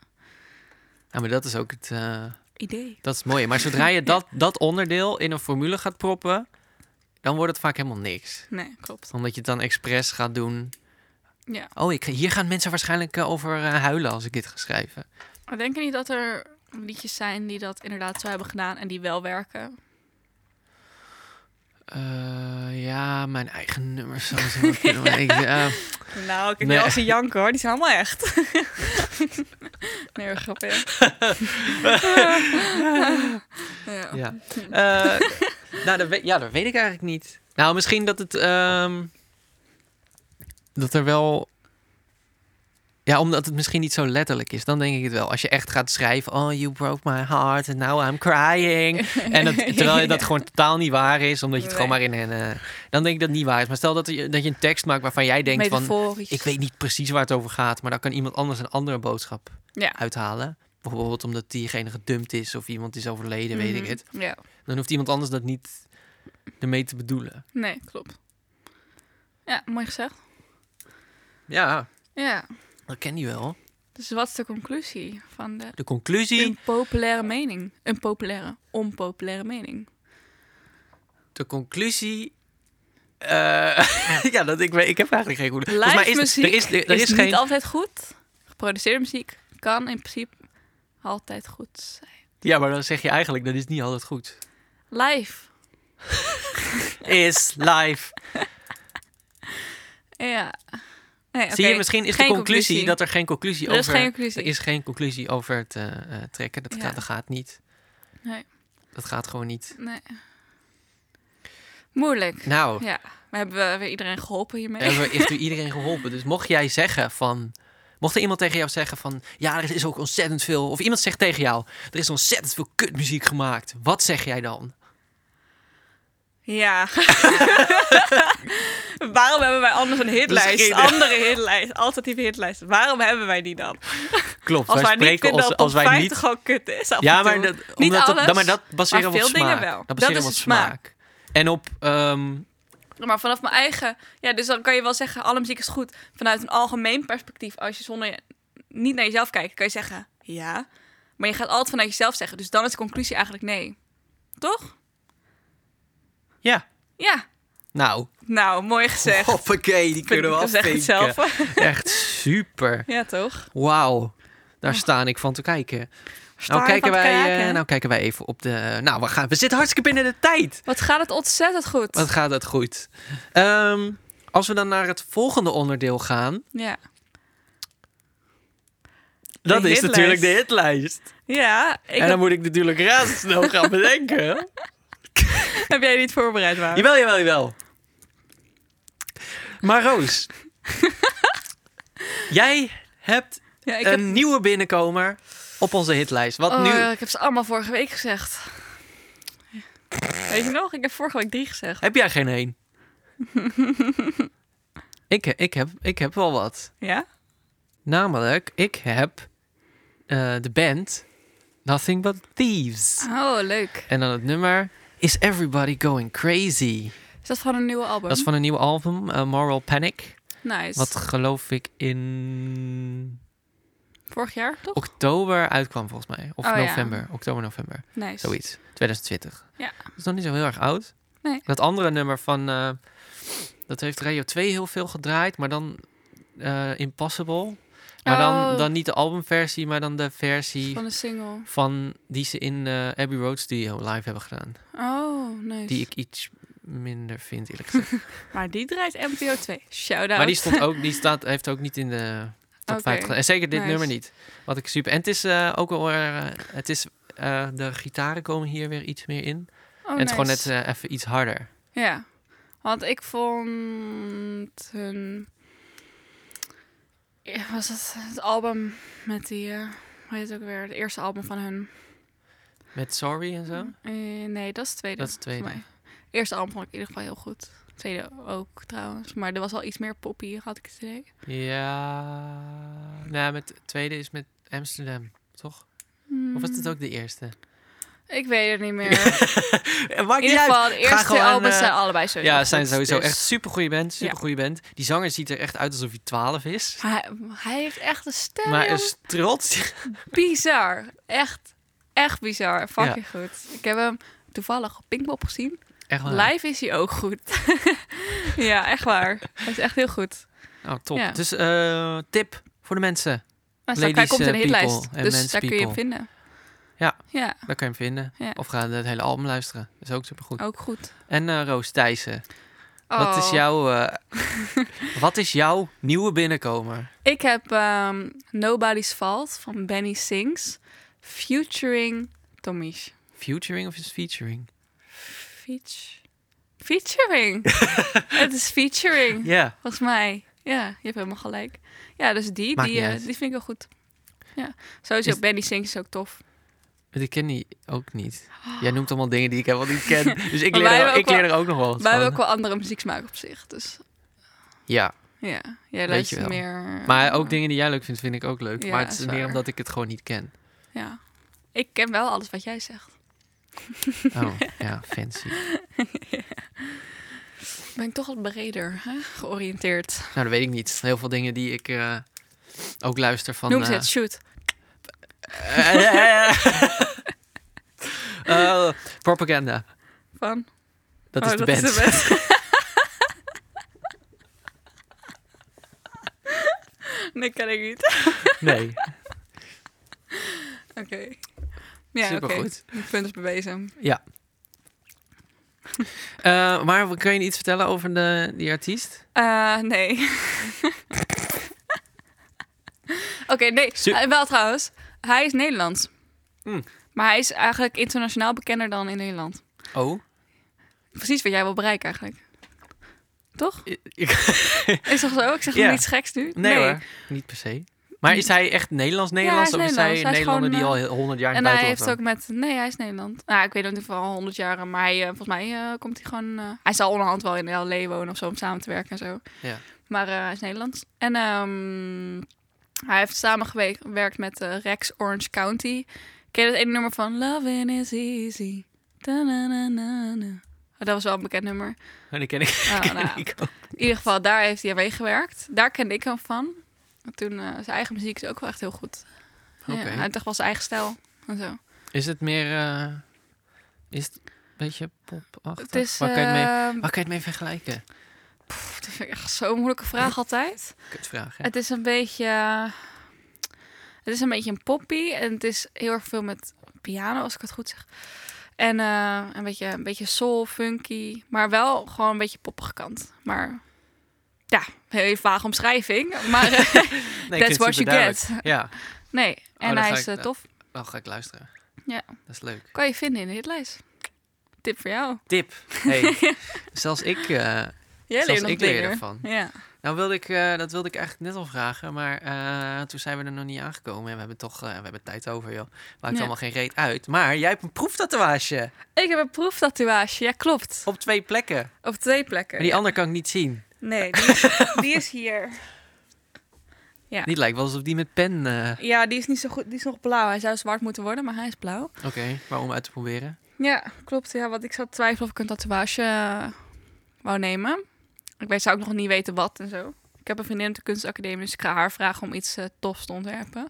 S1: Ja, maar dat is ook het, eh,
S2: Idee.
S1: dat is het mooie. Maar zodra je dat, dat onderdeel in een formule gaat proppen, dan wordt het vaak helemaal niks.
S2: Nee, klopt.
S1: Omdat je het dan expres gaat doen.
S2: Ja.
S1: Oh, ik, hier gaan mensen waarschijnlijk eh, over eh, huilen als ik dit ga schrijven.
S2: Maar denk je niet dat er liedjes zijn die dat inderdaad zo hebben gedaan en die wel werken?
S1: Eh, ja, mijn eigen nummers. zou zo kunnen, maar ik, eh,
S2: Nou, ik
S1: heb Nee. wel
S2: een janken hoor, die zijn allemaal echt. nee, hoor, grapje. ja.
S1: ja. Eh, nou, dat weet, ja, dat weet ik eigenlijk niet. Nou, misschien dat het. ehm, dat er wel. Ja, omdat het misschien niet zo letterlijk is. Dan denk ik het wel. Als je echt gaat schrijven. Oh, you broke my heart. And now I'm crying. En dat, terwijl je dat gewoon totaal niet waar is. Omdat je het gewoon maar in een. eh, dan denk ik dat het niet waar is. Maar stel dat je, dat je een tekst maakt waarvan jij denkt van.
S2: Metaforisch.
S1: Ik weet niet precies waar het over gaat, maar dan kan iemand anders een andere boodschap
S2: Ja.
S1: uithalen. Bijvoorbeeld omdat diegene gedumpt is of iemand is overleden, weet ik
S2: Mhm.
S1: het.
S2: Ja,
S1: Dan hoeft iemand anders dat niet ermee te bedoelen.
S2: nee, klopt. Ja, mooi gezegd.
S1: Ja,
S2: Ja,
S1: dat ken je wel.
S2: dus wat is de conclusie van de
S1: De conclusie,
S2: impopulaire mening? Een populaire, onpopulaire mening.
S1: de conclusie... eh, ja, dat, ik, weet- ik heb eigenlijk geen goede... Volgens mij
S2: Live
S1: is,
S2: muziek
S1: er is, er, er
S2: is,
S1: is
S2: niet
S1: geen...
S2: altijd goed. Geproduceerde muziek kan in principe altijd goed zijn.
S1: Ja, maar dan zeg je eigenlijk, dat is niet altijd goed.
S2: Live.
S1: Is live.
S2: Ja. Nee,
S1: Zie je,
S2: oké.
S1: misschien is
S2: Geen
S1: de conclusie,
S2: conclusie.
S1: dat er geen conclusie
S2: Er is
S1: over...
S2: geen conclusie.
S1: Er is geen conclusie over het eh, eh, trekken. Dat,
S2: Ja.
S1: gaat, dat gaat niet.
S2: Nee.
S1: Dat gaat gewoon niet.
S2: Nee. Moeilijk.
S1: Nou,
S2: Ja. Maar hebben we weer iedereen geholpen hiermee?
S1: hebben we echt weer iedereen geholpen. Dus mocht jij zeggen van... Mocht er iemand tegen jou zeggen van... Ja, er is ook ontzettend veel... Of iemand zegt tegen jou... Er is ontzettend veel kutmuziek gemaakt. Wat zeg jij dan?
S2: Ja. Waarom hebben wij anders een hitlijst?
S1: Misschien-
S2: Andere hitlijst. Alternatieve hitlijst. Waarom hebben wij die dan?
S1: Klopt,
S2: Als wij niet vinden dat top 50 gewoon kut is. af
S1: Ja,
S2: en
S1: maar
S2: toe.
S1: dat,
S2: Niet
S1: omdat dat-
S2: alles,
S1: dan- maar dat baseren
S2: maar
S1: we op
S2: veel dingen
S1: smaak.
S2: wel.
S1: Dat
S2: Dat
S1: baseren
S2: is
S1: we op
S2: de smaak.
S1: smaak. En op... ehm,
S2: Maar vanaf mijn eigen. Ja, dus dan kan je wel zeggen: alle muziek is goed. Vanuit een algemeen perspectief, als je zonder je- niet naar jezelf kijkt, kan je zeggen ja. Maar je gaat altijd vanuit jezelf zeggen. Dus dan is de conclusie eigenlijk nee. Toch?
S1: ja,
S2: Ja.
S1: nou.
S2: Nou, mooi gezegd.
S1: Hoppakee, die kunnen we
S2: Ik zeg het
S1: afvinken.
S2: zelf.
S1: Echt super.
S2: ja, toch?
S1: Wauw. Daar sta ik van te kijken.
S2: Staan
S1: Nou kijken,
S2: van te
S1: wij,
S2: kijken.
S1: eh, nou kijken wij even op de... Nou, we, gaan, we zitten hartstikke binnen de tijd.
S2: Wat gaat het ontzettend goed.
S1: Wat gaat het goed. Ehm, als we dan naar het volgende onderdeel gaan.
S2: Ja.
S1: Dat is
S2: hitlijst.
S1: natuurlijk de hitlijst.
S2: Ja, ik
S1: en dan
S2: heb,
S1: moet ik natuurlijk razendsnel gaan bedenken.
S2: heb jij niet voorbereid, waar?
S1: Jawel, jawel, jawel. Maar Roos. jij hebt
S2: Ja, ik
S1: een
S2: heb,
S1: nieuwe binnenkomer op onze hitlijst. Wat
S2: Oh,
S1: nu?
S2: ja, ik heb ze allemaal vorige week gezegd. Weet je nog? Ik heb vorige week drie gezegd.
S1: Heb jij geen heen? ik, he- ik, heb, ik heb wel wat.
S2: Ja?
S1: Namelijk, ik heb eh, de band Nothing But Thieves.
S2: Oh, leuk.
S1: En dan het nummer Is Everybody Going Crazy?
S2: Is dat van een nieuwe album?
S1: Dat is van een nieuw album, eh, Moral Panic.
S2: Nice.
S1: Wat geloof ik in
S2: Vorig jaar, toch?
S1: Oh, oktober uitkwam volgens mij. Of
S2: Oh, ja.
S1: november, oktober, november.
S2: Nice.
S1: Zoiets. 2020.
S2: Ja.
S1: Dat is nog niet zo heel erg oud.
S2: Nee.
S1: Dat andere nummer van... eh, dat heeft Radio 2 heel veel gedraaid, maar dan eh, Impossible. Maar
S2: Oh.
S1: dan, dan niet de albumversie, maar dan de versie
S2: Van een single.
S1: van die ze in eh, Abbey Road Studio live hebben gedaan.
S2: Oh, nice.
S1: Die ik iets minder vind, eerlijk gezegd.
S2: Nou. Maar die draait NPO 2. Shout-out.
S1: maar die, stond ook, die staat, heeft ook niet in de top
S2: Oké,
S1: 5 gedaan. En zeker dit
S2: nice.
S1: nummer niet. Wat ik super... En het is eh, ook wel... eh, het is, eh, de gitaren komen hier weer iets meer in.
S2: Oh,
S1: en het is gewoon net
S2: nice.
S1: eh, even iets harder.
S2: Ja. Want ik vond hun... Ja, was het het album met die... eh, hoe heet het ook weer? Het eerste album van hun.
S1: Met Sorry en zo?
S2: Eh, nee, dat is het tweede.
S1: Dat is het tweede.
S2: Voor mij. Eerste album vond ik in ieder geval heel goed. Tweede ook trouwens. Maar er was al iets meer poppy, had ik het idee.
S1: Ja. Nou, met, het tweede is met Amsterdam, toch? Of was het
S2: Mm.
S1: ook de eerste?
S2: Hmm, Ik weet het niet meer.
S1: Maakt
S2: In ieder geval, de eerste
S1: gewoon,
S2: albums
S1: eh,
S2: zijn allebei sowieso
S1: ja,
S2: goed,
S1: zijn sowieso
S2: dus-
S1: echt supergoeie band. Supergoeie band. Die zanger ziet er echt uit alsof hij 12 is.
S2: Hij, hij heeft echt een stem,
S1: Maar
S2: jongen.
S1: is trots.
S2: bizar. Echt, echt bizar. Fucking goed. Ik heb hem toevallig op Pinkpop gezien.
S1: Echt wel.
S2: Live is hij ook goed. ja, echt waar. Hij is echt heel goed.
S1: Oh, top.
S2: Ja.
S1: Dus eh, tip voor de mensen.
S2: Maar hij staat- hij
S1: Ladies,
S2: komt in de
S1: eh,
S2: hitlijst,
S1: people en
S2: dus
S1: men's
S2: daar kun je hem
S1: people.
S2: vinden.
S1: Ja.
S2: Ja,
S1: Daar kan je hem vinden.
S2: Ja.
S1: Of ga het hele album luisteren. Dat is ook supergoed.
S2: ook goed.
S1: En eh, Roos Thijssen. Wat, is
S2: Oh.
S1: jouw, eh, wat is jouw nieuwe binnenkomer?
S2: Ik heb ehm, Nobody's Fault van Benny Sings. Featuring Tomish.
S1: Futuring of is het featuring?
S2: Feat- Featuring. Het is featuring,
S1: Ja.
S2: volgens mij. Ja, je hebt helemaal gelijk. Ja, dus die,
S1: Maakt
S2: die,
S1: niet
S2: eh,
S1: uit.
S2: die vind ik wel goed. Ja, sowieso
S1: Is-
S2: Benny Sings is ook tof.
S1: Want ik ken die ook niet. Jij noemt allemaal dingen die ik helemaal niet ken. Dus ik
S2: Maar
S1: leer,
S2: wij hebben
S1: er,
S2: ook
S1: ik leer
S2: wel-
S1: er ook nog wel wat
S2: Wij hebben
S1: van.
S2: ook wel andere muzieksmaak op zich, dus
S1: Ja,
S2: ja. Jij
S1: Weet je
S2: luistert
S1: wel.
S2: meer...
S1: maar ook
S2: eh,
S1: dingen die jij leuk vindt, vind ik ook leuk.
S2: Ja,
S1: maar het is
S2: is
S1: meer
S2: waar.
S1: omdat ik het gewoon niet ken.
S2: Ja. Ik ken wel alles wat jij zegt.
S1: Oh, ja, fancy. Nou,
S2: Ben ik toch wat breder hè? georiënteerd.
S1: Nou, dat weet ik niet. Heel veel dingen die ik eh, ook luister van...
S2: Noem ze
S1: eh,
S2: het, shoot.
S1: eh, eh, propaganda.
S2: Van...
S1: Dat,
S2: Oh,
S1: is, de band.
S2: band. nee, ken ik niet.
S1: Nee,
S2: Oké. Ja, oké.
S1: supergoed.
S2: Het punt is bewezen.
S1: Eh, maar kun je iets vertellen over de, die artiest?
S2: Eh, nee. Oké, nee.
S1: Su-
S2: Eh, wel trouwens. Hij is Nederlands.
S1: Hmm.
S2: Maar hij is eigenlijk internationaal bekender dan in Nederland.
S1: Oh.
S2: Precies wat jij wil bereiken eigenlijk. Toch?
S1: Ik- ik-
S2: Is toch zo? Ik zeg
S1: Ja.
S2: niets geks nu.
S1: Nee, hoor, niet per se. Maar is hij echt Nederlands-Nederlands?
S2: Ja,
S1: of
S2: hij
S1: is
S2: is
S1: hij een
S2: Nederlands. Hij is
S1: Nederlander die
S2: gewoon, eh,
S1: al heel- 100 jaar in
S2: En
S1: het
S2: hij
S1: buitenland
S2: heeft
S1: woont?
S2: ook met... Nee, hij is Nederland. Nou, ik weet het niet van al 100 jaren. Maar hij, eh, volgens mij eh, komt hij gewoon... eh, hij zal onderhand wel in L.A. wonen of zo om samen te werken en zo.
S1: Ja.
S2: Maar eh, hij is Nederlands. En ehm, hij heeft samengewerkt met eh, Rex Orange County. Ken je dat ene nummer van Loving is easy? Ta-na-na-na-na. Oh, dat was wel een bekend nummer.
S1: Oh, die ken ik,
S2: Oh,
S1: ken
S2: nou.
S1: ik ook.
S2: In ieder geval, daar heeft hij aan meegewerkt. Daar kende ik hem van. En toen, eh, zijn eigen muziek is ook wel echt heel goed.
S1: Oké.
S2: Ja, hij heeft echt wel zijn eigen stijl en zo.
S1: Is het meer... eh, is het een beetje popachtig?
S2: Het is,
S1: waar, kan je het mee,
S2: ehm,
S1: waar kan je het mee vergelijken?
S2: pff, dat vind ik echt zo'n moeilijke vraag altijd.
S1: Kutvraag, hè?
S2: Het is een beetje... eh, Het is een beetje een poppy. En het is heel erg veel met piano, als ik het goed zeg. En eh, een, beetje, een beetje soul, funky. Maar wel gewoon een beetje poppige kant. Maar ja, heel even vage omschrijving. Maar eh,
S1: Nee, ik
S2: that's
S1: vind het
S2: what you
S1: superduidelijk.
S2: get.
S1: Ja,
S2: Nee, en
S1: dan
S2: hij
S1: ga
S2: is
S1: ik
S2: eh,
S1: dat-
S2: tof.
S1: nou ga ik luisteren.
S2: Ja.
S1: Dat is leuk.
S2: Kan je vinden in de hitlijst. Tip voor jou.
S1: Tip. Hey, zelfs ik, eh,
S2: Jij
S1: zelfs
S2: leert nog
S1: ik leer
S2: dingen.
S1: ervan.
S2: Ja.
S1: Nou, wilde ik, eh, dat wilde ik eigenlijk net al vragen, maar eh, toen zijn we er nog niet aangekomen. En we hebben toch eh, we hebben tijd over, joh. Maakt
S2: Ja.
S1: allemaal geen reet uit. Maar jij hebt een proeftatoeage
S2: Ik heb een proeftatoeage. Ja, klopt.
S1: op twee plekken.
S2: Op twee plekken.
S1: Maar die andere kan ik niet zien.
S2: Nee, die is, die is hier. Ja.
S1: Niet lijkt wel alsof die met pen... eh,
S2: Ja, die is niet zo goed. Die is nog blauw. Hij zou zwart moeten worden, maar hij is blauw.
S1: Oké, maar om uit te proberen.
S2: Ja, klopt. Ja, want ik zat te twijfelen of ik een tatoeage eh, wou nemen. Ik weet, zou ook nog niet weten wat en zo. Ik heb een vriendin op de kunstacademie, dus ik ga haar vragen om iets eh, tofs te ontwerpen.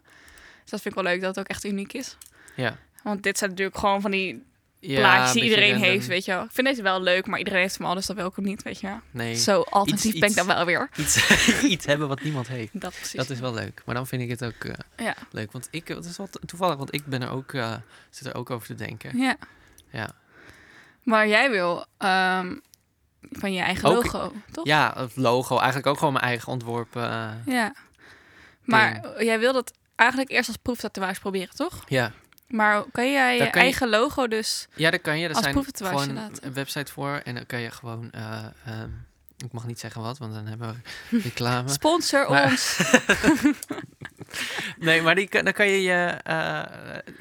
S2: Dus dat vind ik wel leuk dat het ook echt uniek is.
S1: Ja.
S2: Want dit zijn natuurlijk gewoon van die
S1: ja
S2: plaatjes die
S1: een beetje
S2: iedereen
S1: random.
S2: heeft, weet je wel. Ik vind deze wel leuk, maar iedereen heeft hem al, dus dat wil ik ook niet, weet je wel.
S1: Nee,
S2: Zo alternatief
S1: Iets-
S2: ben ik dan wel weer.
S1: iets, iets hebben wat niemand heeft.
S2: Dat precies.
S1: Dat is wel leuk. Maar dan vind ik het ook eh,
S2: Ja.
S1: leuk. Want ik, het is wel to- toevallig, want ik ben er ook, eh, zit er ook over te denken.
S2: Ja.
S1: Ja.
S2: Maar jij wil ehm, van je eigen
S1: Ook-
S2: logo, toch?
S1: Ja, het logo. Eigenlijk ook gewoon mijn eigen ontworpen. eh,
S2: Ja. Maar jij wil dat eigenlijk eerst als proeftatoeage proberen, toch?
S1: ja.
S2: Maar kan jij je
S1: Daar kan je-
S2: eigen logo dus...
S1: ja, dat kan je. Er
S2: Als
S1: zijn
S2: proefbetaasje
S1: gewoon
S2: laten.
S1: een website voor. En dan kan je gewoon... eh, ehm, ik mag niet zeggen wat, want dan hebben we reclame.
S2: Sponsor
S1: Maar-
S2: ons.
S1: Nee, maar die, kan- dan kan je, je eh,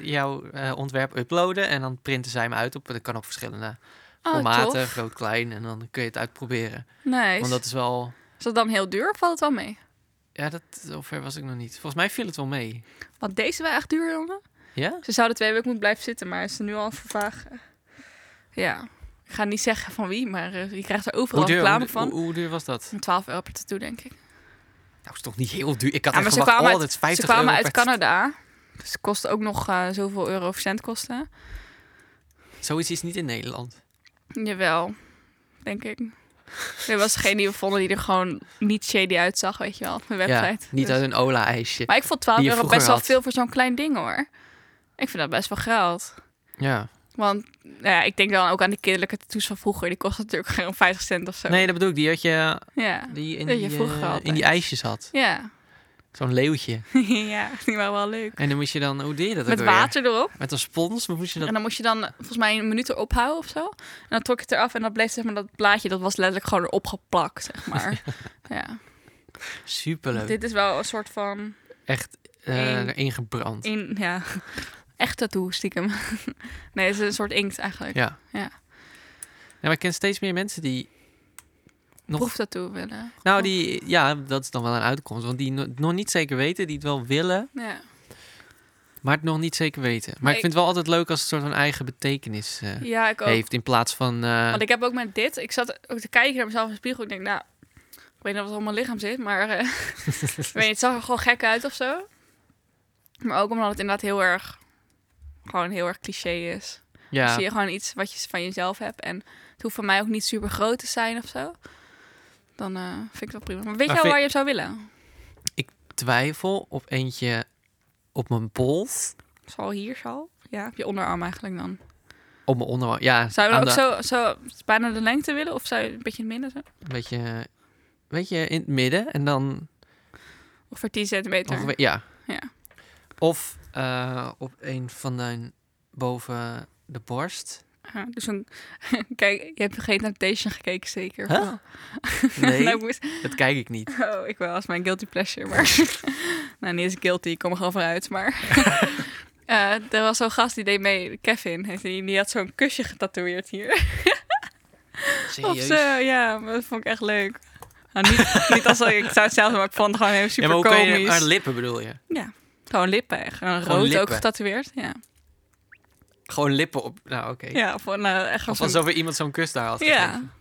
S1: jouw eh, ontwerp uploaden. En dan printen zij hem uit. Op, dat kan op verschillende
S2: Oh,
S1: formaten.
S2: tof.
S1: Groot, klein. En dan kun je het uitproberen.
S2: Nice.
S1: Want dat is wel...
S2: Is dat dan heel duur of valt het wel mee?
S1: Ja, dat, zover was ik nog niet. Volgens mij viel het wel mee.
S2: Want deze waren echt duur, jongen.
S1: Ja?
S2: Ze zouden twee weken moeten blijven zitten, maar ze nu al vervaag. Ja. Ik ga niet zeggen van wie, maar eh, je krijgt er overal reclame
S1: hoe,
S2: van.
S1: hoe, hoe duur was dat?
S2: 12 euro per tattoo, denk ik.
S1: Dat is toch niet heel duur. Ik had
S2: Ja,
S1: echt
S2: maar ze
S1: verwacht,
S2: kwamen
S1: oh,
S2: uit-
S1: dat is 50
S2: ze kwamen
S1: euro
S2: uit
S1: per-
S2: Canada. Dus het kost ook nog eh, zoveel euro of cent kosten.
S1: Zoiets is niet in Nederland.
S2: Jawel, denk ik. Er was geen die we vonden die er gewoon niet shady uitzag, weet je wel, op mijn website.
S1: Ja, niet
S2: Dus-
S1: uit een Ola-ijsje.
S2: Maar ik vond 12
S1: die je
S2: euro
S1: vroeger
S2: best wel
S1: had.
S2: veel voor zo'n klein ding hoor. Ik vind dat best wel geld.
S1: Ja.
S2: Want nou ja, ik denk dan ook aan die kinderlijke tattoos van vroeger. Die kosten natuurlijk geen 50 cent of zo.
S1: Nee, dat bedoel ik. Die had je,
S2: Ja.
S1: die in,
S2: Dat
S1: die,
S2: je vroeger
S1: eh,
S2: altijd.
S1: in die ijsjes had.
S2: Ja.
S1: Zo'n leeuwtje.
S2: ja, die waren wel leuk.
S1: En dan moest je dan... Hoe deed je dat ook
S2: Met
S1: alweer?
S2: water erop.
S1: Met een spons? Maar moest je dat...
S2: En dan moest je dan eh, volgens mij een minuut erop houden of zo. En dan trok je het eraf en dan bleef zeg maar dat plaatje, dat was letterlijk gewoon erop geplakt, zeg maar. ja.
S1: Superleuk.
S2: Dit is wel een soort van
S1: Echt eh,
S2: Eén.
S1: erin gebrand.
S2: in, ja, echt tattoo stiekem. nee, het is een soort inkt eigenlijk.
S1: Ja.
S2: Ja.
S1: Ja, maar ik ken steeds meer mensen die... Nog,
S2: Proeftattoo willen.
S1: nou, die, ja, dat is dan wel een uitkomst. Want die no- nog niet zeker weten, die het wel willen...
S2: Ja.
S1: Maar het nog niet zeker weten. Maar
S2: Maar
S1: ik vind het wel altijd leuk als het een soort van eigen betekenis eh,
S2: ja, ik ook.
S1: heeft. In plaats van. eh,
S2: Want ik heb ook met dit, ik zat ook te kijken naar mezelf in de spiegel. Ik denk, nou, ik weet niet of het allemaal lichaam zit, maar eh, ik weet, niet, het zag er gewoon gek uit of zo. Maar ook omdat het inderdaad heel erg, gewoon heel erg cliché is.
S1: ja,
S2: Zie je gewoon iets wat je van jezelf hebt. En het hoeft voor mij ook niet super groot te zijn of zo. Dan eh, vind ik dat prima. Maar weet
S1: Maar
S2: je
S1: Nou,
S2: al
S1: vind-
S2: waar je op zou willen?
S1: twijfel op eentje op mijn pols.
S2: Zal hier, zal? Ja, op je onderarm eigenlijk dan.
S1: Op mijn onderarm. Ja,
S2: Zou je
S1: aan
S2: dan ook
S1: de-
S2: zo, zo bijna de lengte willen? Of zou je een beetje minder zo?
S1: Een beetje, beetje in het midden en dan.
S2: Ongeveer 10 centimeter.
S1: Ongeveer, ja.
S2: Ja.
S1: Of eh, op een van de boven de borst.
S2: Ja, dus een, kijk, je hebt geen Temptation gekeken zeker? of
S1: Huh?
S2: wel?
S1: Nee,
S2: nou, ik moest-
S1: dat kijk ik niet.
S2: Oh, ik wel als mijn guilty pleasure, maar... nou, niet eens guilty, ik kom er gewoon vooruit, maar... Eh, er was zo'n gast die deed mee, Kevin, heet die, die had zo'n kusje getatoeëerd hier. Op
S1: Serieus.
S2: ze, eh, ja, maar dat vond ik echt leuk. Nou, niet, niet als ik zou het zelf doen, maar ik vond het gewoon heel
S1: ja,
S2: super
S1: maar hoe kan je
S2: komisch.
S1: maar lippen bedoel je?
S2: Gewoon lippen, echt. En
S1: Gewoon
S2: rood ook
S1: lippen.
S2: getatoeëerd, ja.
S1: Gewoon lippen op. Nou, oké.
S2: Ja, voor, nou, echt
S1: Of
S2: zo'n-
S1: alsof er iemand zo'n kus daar had.
S2: Ja. Oh,
S1: gegeven.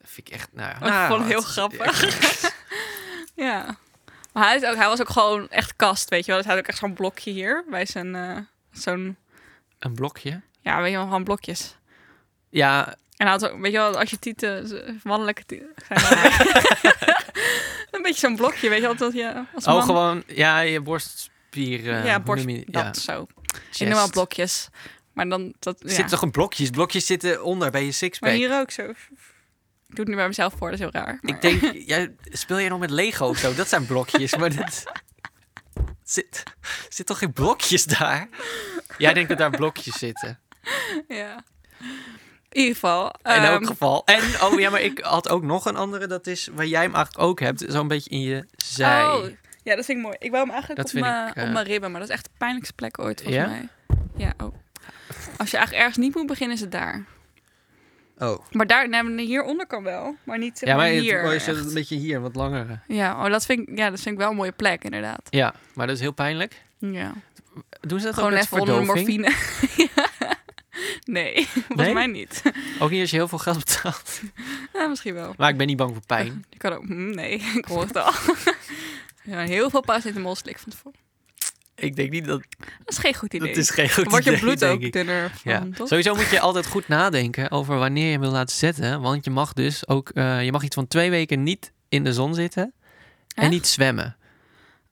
S1: Dat vind ik echt, nou ja.
S2: Ik vond het heel grappig. Ja. Maar hij, is ook, hij was ook gewoon echt kast, weet je wel. Dus hij had ook echt zo'n blokje hier, bij zijn... eh, zo'n,
S1: Een blokje?
S2: ja, weet je wel, gewoon blokjes.
S1: Ja,
S2: En hij had ook, weet je wel, als je tieten, z- mannelijke tieten, zijn dan- een beetje zo'n blokje, weet je wel, dat je als man...
S1: oh, gewoon, ja, je borstspier. eh,
S2: ja,
S1: hoe
S2: borst,
S1: noem je-
S2: dat
S1: ja,
S2: zo.
S1: chest.
S2: Ik noem wel blokjes, maar dan, dat,
S1: Er
S2: ja.
S1: zitten toch een blokjes? Blokjes zitten onder bij je
S2: maar
S1: sixpack.
S2: hier ook zo. Ik doe het nu bij mezelf voor, dat is heel raar. maar-
S1: Ik denk, jij, speel jij nog met Lego of zo? Dat zijn blokjes, maar dat... Zit, zit toch geen blokjes daar? Jij denkt dat daar blokjes zitten.
S2: Ja. In ieder geval.
S1: In elk
S2: ehm,
S1: geval. En, oh ja, maar ik had ook nog een andere. Dat is waar jij hem eigenlijk ook hebt. Zo'n beetje in je zij.
S2: Oh, ja, dat vind ik mooi. Ik wou hem eigenlijk
S1: Dat
S2: op
S1: vind
S2: mijn
S1: ik, eh,
S2: op mijn ribben, maar dat is echt de pijnlijkste plek ooit volgens
S1: Ja?
S2: mij. Ja, oh. Als je eigenlijk ergens niet moet beginnen, is het daar.
S1: Oh.
S2: Maar daar, nee, hieronder kan wel, maar niet zeg
S1: Ja,
S2: maar
S1: maar het-
S2: hier.
S1: oh, je zet het
S2: echt.
S1: een beetje hier, wat langere.
S2: Ja, oh, dat vind ik, ja, dat vind ik wel een mooie plek, inderdaad.
S1: Ja, maar dat is heel pijnlijk.
S2: Ja.
S1: Doen ze dat
S2: Gewoon
S1: ook met
S2: even onder de
S1: verdoving?
S2: morfine. Ja. nee, volgens
S1: Nee?
S2: mij niet.
S1: Ook niet als je heel veel geld betaalt.
S2: Ja, misschien wel.
S1: Maar ik ben niet bang voor pijn.
S2: Je kan ook, mm, nee, ik hoor het al. ja, heel veel paracetamol slik van tevoren.
S1: Ik denk niet dat...
S2: Dat is geen goed idee.
S1: Dat is geen goed
S2: Wordt je
S1: idee,
S2: bloed
S1: denk
S2: ook
S1: ik.
S2: dunner van,
S1: Ja.
S2: toch?
S1: Sowieso moet je altijd goed nadenken over wanneer je hem wil laten zetten. Want je mag dus ook... eh, je mag iets van twee weken niet in de zon zitten. En
S2: Echt?
S1: niet zwemmen.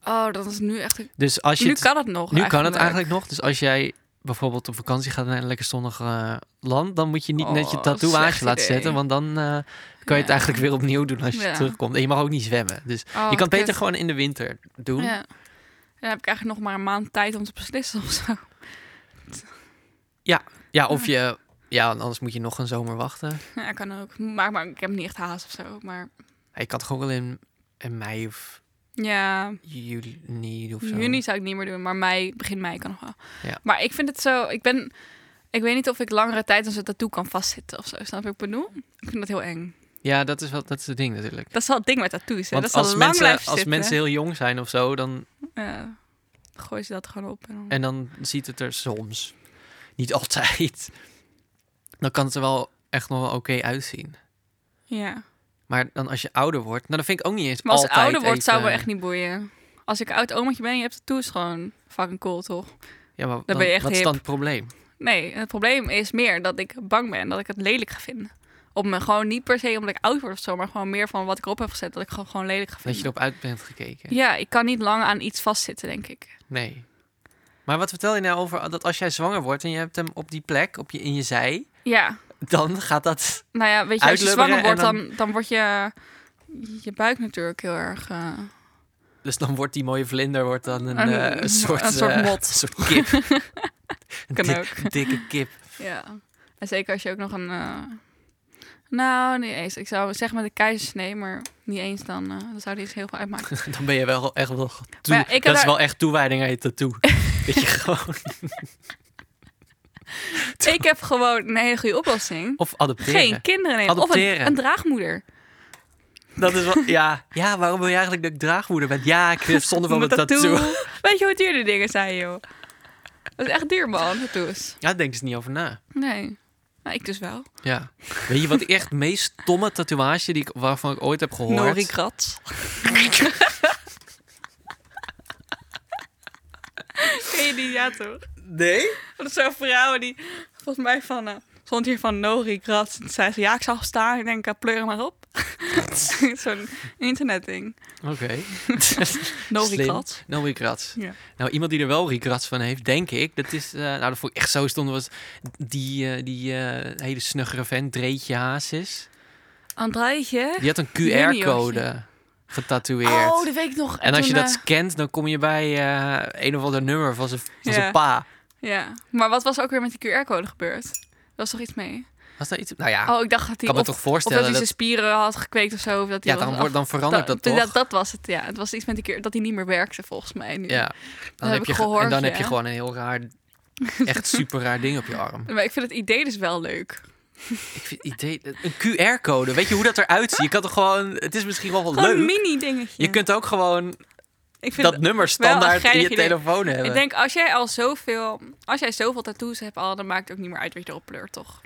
S2: Oh, dat is nu echt...
S1: Dus als je
S2: Nu
S1: het-
S2: kan het nog
S1: nu kan het eigenlijk nog. Dus als jij bijvoorbeeld op vakantie gaat naar een lekker zonnig eh, land... dan moet je niet net je
S2: Oh, slecht
S1: tatoeage laten
S2: idee.
S1: zetten. Want dan eh, kan je het
S2: Ja.
S1: eigenlijk weer opnieuw doen als je
S2: Ja.
S1: terugkomt. En je mag ook niet zwemmen. Dus
S2: Oh,
S1: je kan het
S2: kut.
S1: beter gewoon in de winter doen.
S2: Ja. Dan heb ik eigenlijk nog maar een maand tijd om te beslissen of zo.
S1: Ja, of je... Ja, want anders moet je nog een zomer wachten.
S2: Ja, kan ook. Maar, maar ik heb niet echt haast of zo. Maar
S1: Ik kan toch ook wel in, in mei of
S2: ja,
S1: juni of zo.
S2: juni zou ik niet meer doen. Maar mei, begin mei kan nog wel.
S1: Ja.
S2: Maar ik vind het zo... Ik ben... Ik weet niet of ik langere tijd dan zo'n tattoo kan vastzitten of zo. Snap je wat ik bedoel? Ik vind dat heel eng.
S1: Ja, dat is, wel, dat is het ding natuurlijk.
S2: Dat is wel het ding met tattoos. Hè?
S1: Want
S2: Dat zal
S1: als,
S2: lang
S1: mensen,
S2: blijven
S1: als
S2: zitten. Mm.
S1: mensen heel jong zijn of zo, dan,
S2: Ja. Gooi ze dat gewoon op. En dan...
S1: en dan ziet het er soms, niet altijd, dan kan het er wel echt nog wel oké uitzien.
S2: Ja.
S1: Maar dan als je ouder wordt, nou dan vind ik ook niet eens
S2: Maar als ik
S1: altijd
S2: ouder wordt, zou me
S1: even-
S2: echt niet boeien. Als ik oud omaatje ben, je hebt tattoos gewoon fucking cool, toch?
S1: Ja, maar
S2: ben je echt
S1: wat is
S2: hip.
S1: dan het probleem?
S2: Nee, het probleem is meer dat ik bang ben dat ik het lelijk ga vinden. Op me gewoon niet per se omdat ik oud word of zo, maar gewoon meer van wat ik erop heb gezet dat ik gewoon, gewoon lelijk ga
S1: Dat je
S2: vinden.
S1: erop uit bent gekeken.
S2: Mm. Ja, ik kan niet lang aan iets vastzitten, denk ik.
S1: Nee. Maar wat vertel je nou over dat als jij zwanger wordt en je hebt hem op die plek, op je, in je zij,
S2: Ja,
S1: dan gaat dat...
S2: nou ja, weet je, als je
S1: Uitlubberen
S2: zwanger wordt,
S1: en
S2: dan, dan wordt je, je buik natuurlijk heel erg. eh,
S1: Dus dan wordt die mooie vlinder wordt dan een,
S2: Een-
S1: eh,
S2: een
S1: soort,
S2: soort
S1: eh,
S2: mot.
S1: Een soort kip. Een
S2: Kan
S1: dik-
S2: ook.
S1: een dikke kip.
S2: ja. En zeker als je ook nog een. eh, nou, niet eens. Ik zou zeggen met een keizersnee, maar niet eens dan. eh, dan zou die eens heel veel uitmaken.
S1: Dan ben je wel echt wel toe.
S2: Maar ja, ik heb
S1: dat is
S2: daar-
S1: wel echt toewijding aan je tattoo. dat je gewoon...
S2: ik heb gewoon een hele goede oplossing.
S1: Of adopteren.
S2: Geen kinderen nemen. Of
S1: Adopteren.
S2: een, een draagmoeder.
S1: Dat is wel... Ja. ja, waarom wil je eigenlijk dat ik draagmoeder ben? Ja, ik heb zonde van mijn tattoo.
S2: Weet je hoe duur de dingen zijn, joh? Dat is echt duur, man, tattoos.
S1: Ja, daar denk ze niet over na.
S2: Nee. Nou, ik dus wel.
S1: Ja. Weet je wat ik echt het meest stomme tatoeage die ik, waarvan ik ooit heb gehoord?
S2: Nori Krat. Ken je die? Ja, toch?
S1: Nee?
S2: Dat zijn vrouwen die, volgens mij van... eh, stond hier van Nori Krat. En zei ze, ja, ik zag staan. Ik denk, eh, pleur hem maar op. Zo'n internetding.
S1: Oké.
S2: Nori
S1: Slim.
S2: Krat.
S1: Nori Kratz.
S2: Ja.
S1: Nou, iemand die er wel Rikrats van heeft, denk ik. Dat is, eh, nou, dat vond ik echt zo stom. was die, eh, die eh, hele snuggere vent, Dreetje Hazes.
S2: Andrijtje.
S1: Die had een
S2: Juniortje.
S1: QR-code getatoeëerd.
S2: Oh, dat weet ik nog.
S1: en als je
S2: toen,
S1: dat
S2: eh,
S1: scant, dan kom je bij eh, een of ander nummer van zijn van zijn
S2: Ja.
S1: pa.
S2: Ja, maar wat was er ook weer met die QR-code gebeurd? Er was toch iets mee?
S1: Was daar iets? Nou ja,
S2: Oh, ik dacht dat hij...
S1: kan me
S2: of,
S1: toch
S2: of dat
S1: voorstellen.
S2: hij
S1: dat-
S2: zijn spieren had gekweekt of zo. Of dat hij
S1: ja,
S2: was-
S1: dan, wordt, dan
S2: ach,
S1: verandert dat, toch?
S2: dat, dat was het, ja. Het was iets met die keer dat hij niet meer werkte, volgens mij. Nu.
S1: ja. Dan
S2: heb
S1: heb
S2: ik
S1: je, ge- en
S2: gehoord,
S1: dan heb je
S2: ja.
S1: gewoon een heel raar, echt super raar ding op je arm.
S2: Maar ik vind het idee dus wel leuk.
S1: Ik vind het idee, een QR-code, weet je hoe dat eruit ziet? Je kan toch gewoon, het is misschien wel
S2: Gewoon
S1: leuk.
S2: een mini-dingetje.
S1: Je kunt ook gewoon
S2: ik vind
S1: dat nummer
S2: wel
S1: standaard
S2: een
S1: in
S2: geinig
S1: je
S2: idee.
S1: telefoon hebben.
S2: ik denk, als jij al zoveel, als jij zoveel tattoos hebt al, dan maakt het ook niet meer uit wat je erop pleurt, toch?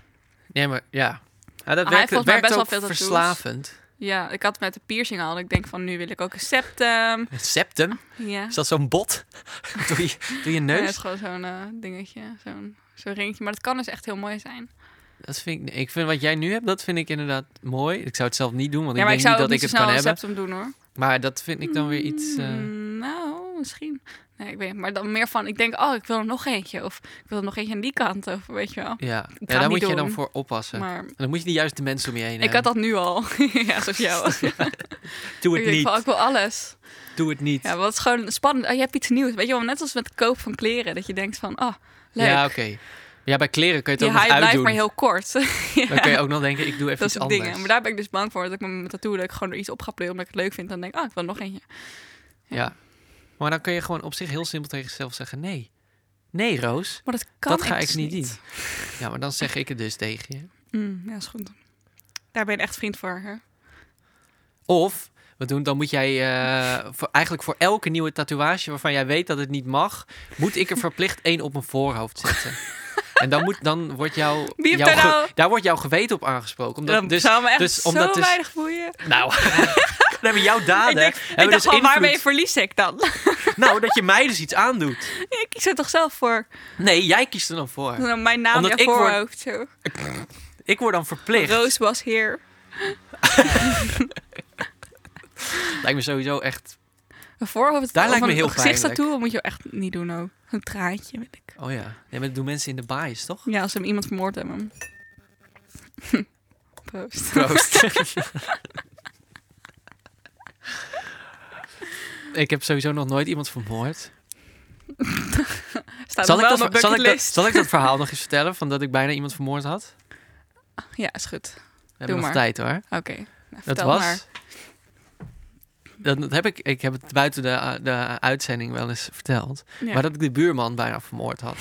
S1: Nee, maar ja. Ja, dat werkt, dat
S2: heeft Ah, volgens mij
S1: werkt
S2: best wel
S1: ook
S2: veel tattoos.
S1: verslavend.
S2: Ja, ik had met de piercing al. en Ik denk van, nu wil ik ook een septum.
S1: Het septum,
S2: Ja.
S1: is dat zo'n bot? doe, je, doe je
S2: Ja,
S1: neus?
S2: het is gewoon zo'n eh, dingetje, zo'n zo'n ringetje. Maar dat kan dus echt heel mooi zijn.
S1: Dat vind ik, ik vind wat jij nu hebt, dat vind ik inderdaad mooi. Ik zou het zelf niet doen, want
S2: ja,
S1: ik
S2: maar
S1: denk
S2: ik zou
S1: niet
S2: ook
S1: dat
S2: niet
S1: ik
S2: zo
S1: het
S2: snel
S1: kan
S2: een
S1: hebben.
S2: septum doen hoor.
S1: Maar dat vind ik dan weer iets... eh,
S2: Mm, nou, misschien. Nee, ik weet het. Maar dan meer van, ik denk, oh, ik wil er nog eentje. Of ik wil er nog eentje aan die kant. Of weet je wel.
S1: ja,
S2: het
S1: ja daar
S2: niet
S1: moet je
S2: doen.
S1: dan voor oppassen.
S2: Maar
S1: En dan moet je de juiste mensen om je heen
S2: ik had
S1: hebben.
S2: dat nu al. ja, zoals jou.
S1: Doe het
S2: ik denk
S1: niet,
S2: van, ik wil alles.
S1: doe het niet.
S2: Ja, wat is gewoon spannend. Oh, je hebt iets nieuws. Weet je wel, net als met koop van kleren. Dat je denkt van, oh, leuk.
S1: Ja, oké. Ja, bij kleren kun je het
S2: Die
S1: ook nog
S2: high blijft
S1: uitdoen.
S2: maar heel kort. Ja,
S1: Dan kun je ook nog denken, ik doe even
S2: dat
S1: iets
S2: soort
S1: anders.
S2: dingen. Maar daar ben ik dus bang voor. Dat ik met mijn tattoo dat ik gewoon er iets op ga pleuren omdat ik het leuk vind. Dan denk ik, oh, ik wil nog eentje.
S1: Ja. Maar dan kun je gewoon op zich heel simpel tegen jezelf zeggen: nee. Nee, Roos.
S2: Maar dat kan
S1: dat ga ik
S2: dus
S1: niet doen. Ja, maar dan zeg ik het dus tegen je.
S2: Mm, ja, is goed. Daar ben je echt vriend voor, hè?
S1: Of, wat doen, dan moet jij eh, voor, eigenlijk voor elke nieuwe tatoeage waarvan jij weet dat het niet mag, moet ik er verplicht één op mijn voorhoofd zetten. En dan, moet, dan wordt jouw,
S2: Wie heeft
S1: jouw
S2: daar
S1: ge-
S2: nou-
S1: daar wordt jouw geweten op aangesproken. Omdat,
S2: dat
S1: dus,
S2: zou me echt
S1: dus
S2: zo
S1: omdat dus-
S2: weinig boeien.
S1: nou, dan hebben jouw daden.
S2: ik denk, ik
S1: hebben
S2: dacht
S1: dus
S2: van, waarmee
S1: invloed.
S2: verlies ik dan?
S1: Nou, dat je mij dus iets aandoet.
S2: ik kies er toch zelf voor.
S1: Nee, jij kiest er dan voor.
S2: Dan Mijn naam
S1: Omdat
S2: in
S1: ik word-
S2: voorhoofd. Zo.
S1: Ik word dan verplicht.
S2: Roos was hier.
S1: Lijkt me sowieso echt.
S2: Een voorhoofd
S1: Daar
S2: of
S1: lijkt me
S2: een
S1: heel
S2: gezichtstattoo moet je echt niet doen ook. Een traantje, weet ik.
S1: Oh ja. Nee, maar dat doen mensen in de baas, toch?
S2: Ja, als ze hem iemand vermoord hebben. Proost.
S1: Proost. ik heb sowieso nog nooit iemand vermoord.
S2: Staat
S1: Zal
S2: nog
S1: ik,
S2: wel
S1: dat, zal,
S2: op mijn
S1: ik dat,
S2: bucketlist.
S1: zal ik dat verhaal nog eens vertellen? Van dat ik bijna iemand vermoord had?
S2: Ja, is goed.
S1: We hebben
S2: Doe
S1: nog
S2: maar.
S1: tijd hoor.
S2: Oké. Nou,
S1: Dat
S2: vertel
S1: was.
S2: maar.
S1: Dat, dat heb ik, ik heb het buiten de, de uitzending wel eens verteld.
S2: Ja.
S1: Maar dat ik de buurman bijna vermoord had.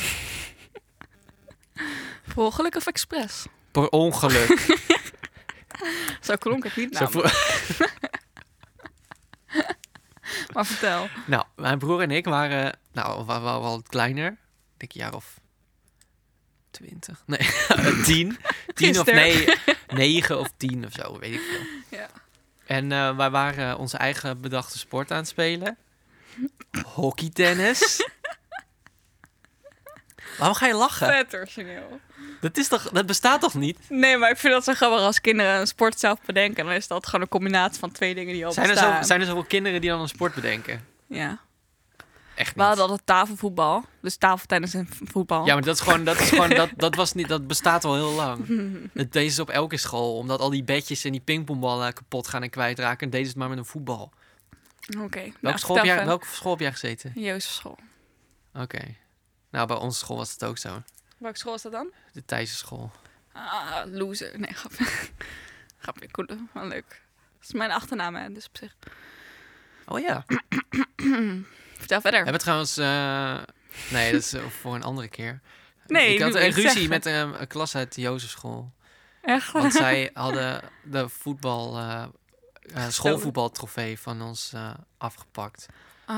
S2: Per ongeluk of expres?
S1: Per ongeluk.
S2: Zo klonk het niet
S1: Zo
S2: namelijk.
S1: voor-
S2: Maar vertel.
S1: Nou, mijn broer en ik waren, nou, wel, wel, wel wat kleiner. Ik denk een jaar of twintig. Nee, tien. Tien of
S2: Gisteren.
S1: nee, negen of tien of zo, weet ik veel.
S2: Ja.
S1: En eh, wij waren onze eigen bedachte sport aan het spelen. Hockeytennis. Waarom ga je lachen?
S2: Vet origineel.
S1: Dat, is toch, dat bestaat toch niet?
S2: Nee, maar ik vind dat zo grappig als kinderen een sport zelf bedenken. Dan is dat gewoon een combinatie van twee dingen die al
S1: Zijn er,
S2: bestaan.
S1: zo, zijn er zoveel kinderen die dan een sport bedenken?
S2: Ja.
S1: Echt
S2: We
S1: niet.
S2: hadden altijd tafelvoetbal. Dus tafeltennis en v- voetbal.
S1: Ja, maar dat is gewoon, dat is gewoon, dat, dat was niet, dat bestaat al heel lang. Het deed ze op elke school, omdat al die bedjes en die pingpongballen kapot gaan en kwijtraken. En deden ze het maar met een voetbal.
S2: Oké.
S1: Welke, school, heb jij, welke school heb jij gezeten?
S2: Jozef school.
S1: Oké. Nou, bij onze school was het ook zo.
S2: Welke school is dat dan?
S1: De Thijse school.
S2: Ah, loser. Nee, grapje. grapje, cool. Maar leuk. Dat is mijn achternaam, hè, dus op zich.
S1: Oh ja.
S2: Vertel verder.
S1: Hebben we trouwens... eh, Nee, dat is eh, voor een andere keer.
S2: Nee,
S1: ik
S2: nu
S1: had
S2: wil
S1: een
S2: ik
S1: ruzie
S2: zeggen.
S1: met eh, een klas uit de Jozefschool.
S2: Echt?
S1: Want zij hadden de voetbal... eh eh, schoolvoetbaltrofee van ons eh, afgepakt.
S2: Oh,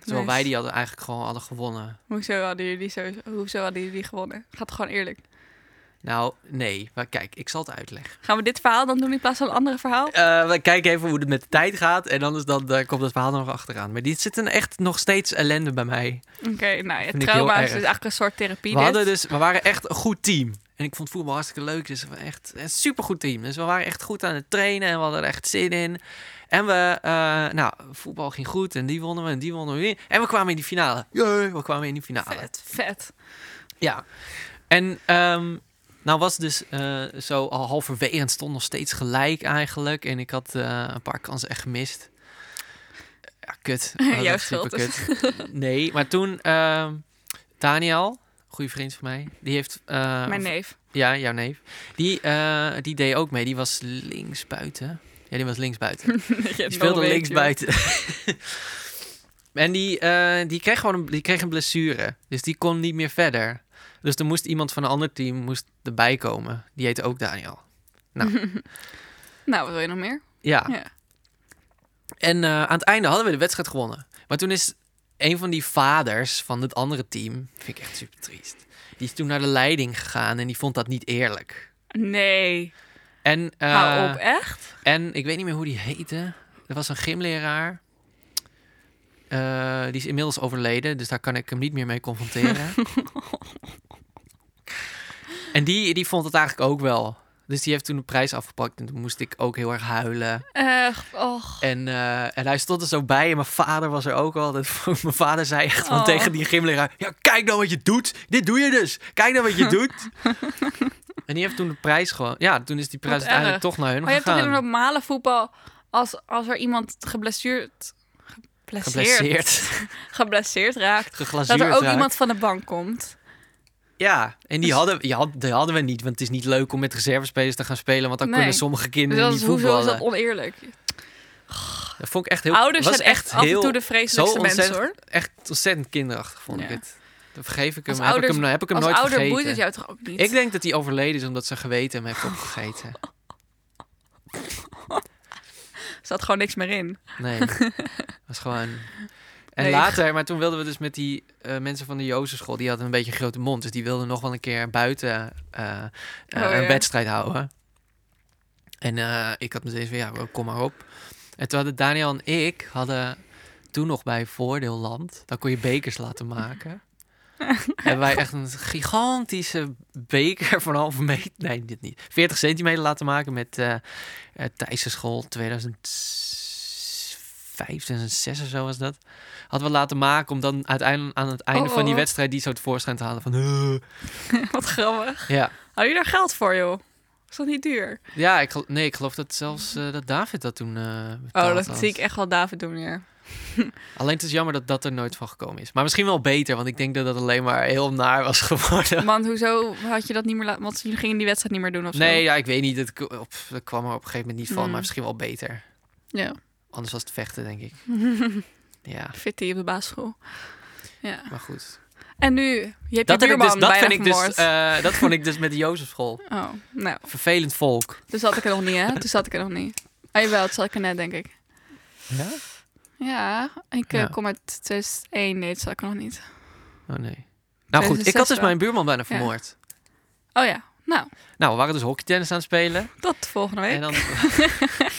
S1: Terwijl
S2: nice.
S1: wij die hadden eigenlijk gewoon hadden gewonnen.
S2: Hoezo hadden jullie zo, hoezo hadden jullie gewonnen? Gaat gewoon eerlijk.
S1: Nou, nee. Maar kijk, ik zal het uitleggen.
S2: Gaan we dit verhaal dan doen in plaats van een andere verhaal?
S1: Eh, we kijken even hoe het met de tijd gaat. En anders dan, eh, komt dat verhaal er nog achteraan. Maar dit zit een echt nog steeds ellende bij mij.
S2: Oké, nou ja,
S1: Vind ik
S2: trauma
S1: heel
S2: is
S1: erg.
S2: dus eigenlijk een soort therapie.
S1: We, hadden
S2: dit.
S1: dus, we waren echt een goed team. En ik vond voetbal hartstikke leuk. Dus we waren echt een supergoed team. Dus we waren echt goed aan het trainen. En we hadden er echt zin in. En we, eh, nou, voetbal ging goed. En die wonnen we. En die wonnen we weer. En we kwamen in die finale. Jee, we kwamen in die finale.
S2: Vet, vet.
S1: Ja. En ehm, nou was het dus eh, zo al halverwege en het stond nog steeds gelijk eigenlijk. En ik had eh, een paar kansen echt gemist. Ja, kut.
S2: Jouw
S1: Dat is
S2: schuld dus.
S1: superkut. Nee, maar toen ehm, Daniel, goede vriend van mij, die heeft... eh,
S2: Mijn neef.
S1: Ja, jouw neef. Die, eh, die deed ook mee. Die was linksbuiten. Ja, die was linksbuiten.
S2: Je
S1: Die speelde links buiten. en die, eh, die kreeg gewoon een, die kreeg een blessure. Dus die kon niet meer verder. Dus er moest iemand van een ander team moest erbij komen. Die heette ook Daniel.
S2: Nou, wat wil je nog meer?
S1: Ja.
S2: Ja.
S1: En eh, aan het einde hadden we de wedstrijd gewonnen. Maar toen is een van die vaders van het andere team... Vind ik echt super triest. Die is toen naar de leiding gegaan en die vond dat niet eerlijk.
S2: Nee.
S1: En, eh,
S2: Hou op, echt?
S1: En ik weet niet meer hoe die heette. Er was een gymleraar. Eh, die is inmiddels overleden, dus daar kan ik hem niet meer mee confronteren. en die, die vond het eigenlijk ook wel. Dus die heeft toen de prijs afgepakt en toen moest ik ook heel erg huilen.
S2: Echt, och.
S1: En, eh, en hij stond er zo bij en mijn vader was er ook al. Dat vond- mijn vader zei echt van
S2: Oh.
S1: tegen die gymleraar... Ja, kijk nou wat je doet. Dit doe je dus. Kijk nou wat je doet. en die heeft toen de prijs gewoon... Ja, toen is die prijs
S2: Wat
S1: uiteindelijk
S2: erg.
S1: toch naar hun
S2: Maar je hebt toch
S1: gegaan.
S2: in een normale voetbal, als, als er iemand geblesseerd... Geblesseerd?
S1: Geblesseerd.
S2: geblesseerd raakt.
S1: geglazuurd
S2: Dat er ook
S1: raakt.
S2: iemand Dus- van de bank komt.
S1: Ja, en die hadden, die, had, die hadden we niet. Want het is niet leuk om met reservespelers te gaan spelen. Want dan
S2: Nee.
S1: kunnen sommige
S2: Dus
S1: kinderen
S2: dat is,
S1: niet
S2: hoezo is
S1: voetballen.
S2: dat
S1: Dat,
S2: oneerlijk?
S1: vond ik echt heel...
S2: Ouders
S1: was
S2: zijn echt af en
S1: heel-
S2: toe de
S1: zo
S2: vreselijkste mensen,
S1: ontzettend,
S2: hoor.
S1: echt ontzettend kinderachtig, vond ik
S2: Ja.
S1: het. Dan vergeef ik hem.
S2: Als
S1: heb,
S2: ouders-
S1: ik hem heb ik hem
S2: Als
S1: nooit
S2: ouder
S1: vergeten.
S2: boeit het jou toch ook niet?
S1: Ik denk dat hij overleden is omdat zijn geweten hem heeft opgegeten.
S2: Er zat gewoon niks meer in.
S1: Nee, was gewoon... En
S2: Nee,
S1: later, maar toen wilden we dus met die eh, mensen van de Jozefschool... die hadden een beetje een grote mond. Dus die wilden nog wel een keer buiten eh, eh,
S2: Oh,
S1: een
S2: ja.
S1: wedstrijd houden. En eh, ik had meteen van, ja, kom maar op. En toen hadden Daniel en ik hadden toen nog bij Voordeelland... dan kon je bekers laten maken. Hebben wij echt een gigantische beker van een halve meter... Nee, dit niet. 40 centimeter laten maken met... eh, eh Thijssen school 2005, 2006 of zo was dat. Hadden we laten maken om dan uiteindelijk aan het einde
S2: Oh,
S1: van die
S2: oh.
S1: wedstrijd die zo tevoorschijn te halen van... "Eh."
S2: Wat grappig.
S1: Ja,
S2: Hou je daar geld voor, joh? Is dat niet duur?
S1: ja ik, gel- nee, ik geloof dat zelfs eh, dat David dat toen eh betaald
S2: Oh, dat
S1: had.
S2: zie ik echt wel David doen, ja.
S1: Alleen het is jammer dat dat er nooit van gekomen is. Maar misschien wel beter, want ik denk dat dat alleen maar heel naar was geworden.
S2: Want hoezo had je dat niet meer laten... Want jullie gingen die wedstrijd niet meer doen of zo?
S1: Nee, ja, ik weet niet. Het k- op, dat kwam er op een gegeven moment niet van,
S2: Mm.
S1: maar misschien wel beter.
S2: Ja,
S1: Anders was het vechten, denk ik. ja,
S2: fitty op de basisschool. Ja.
S1: maar goed.
S2: En nu, je
S1: Dat,
S2: hebt je
S1: heb ik
S2: buurman
S1: dus, dat,
S2: bijna
S1: vind ik dus,
S2: vermoord.
S1: eh, dat vond ik dus met de Jozefschool.
S2: Oh, nou,
S1: Vervelend volk.
S2: dus had ik er nog niet, hè? Toen zat ik er nog niet. Ah, jawel, toen zat ik er net, denk ik.
S1: Ja?
S2: Ja, ik eh,
S1: Ja.
S2: kom uit 2001. Nee, toen zat ik er nog niet.
S1: Oh nee. Nou goed, ik had
S2: 2006
S1: dus
S2: wel.
S1: mijn buurman bijna vermoord.
S2: Oh ja, nou,
S1: Nou, we waren dus hockeytennis aan het spelen.
S2: tot volgende week.
S1: En dan...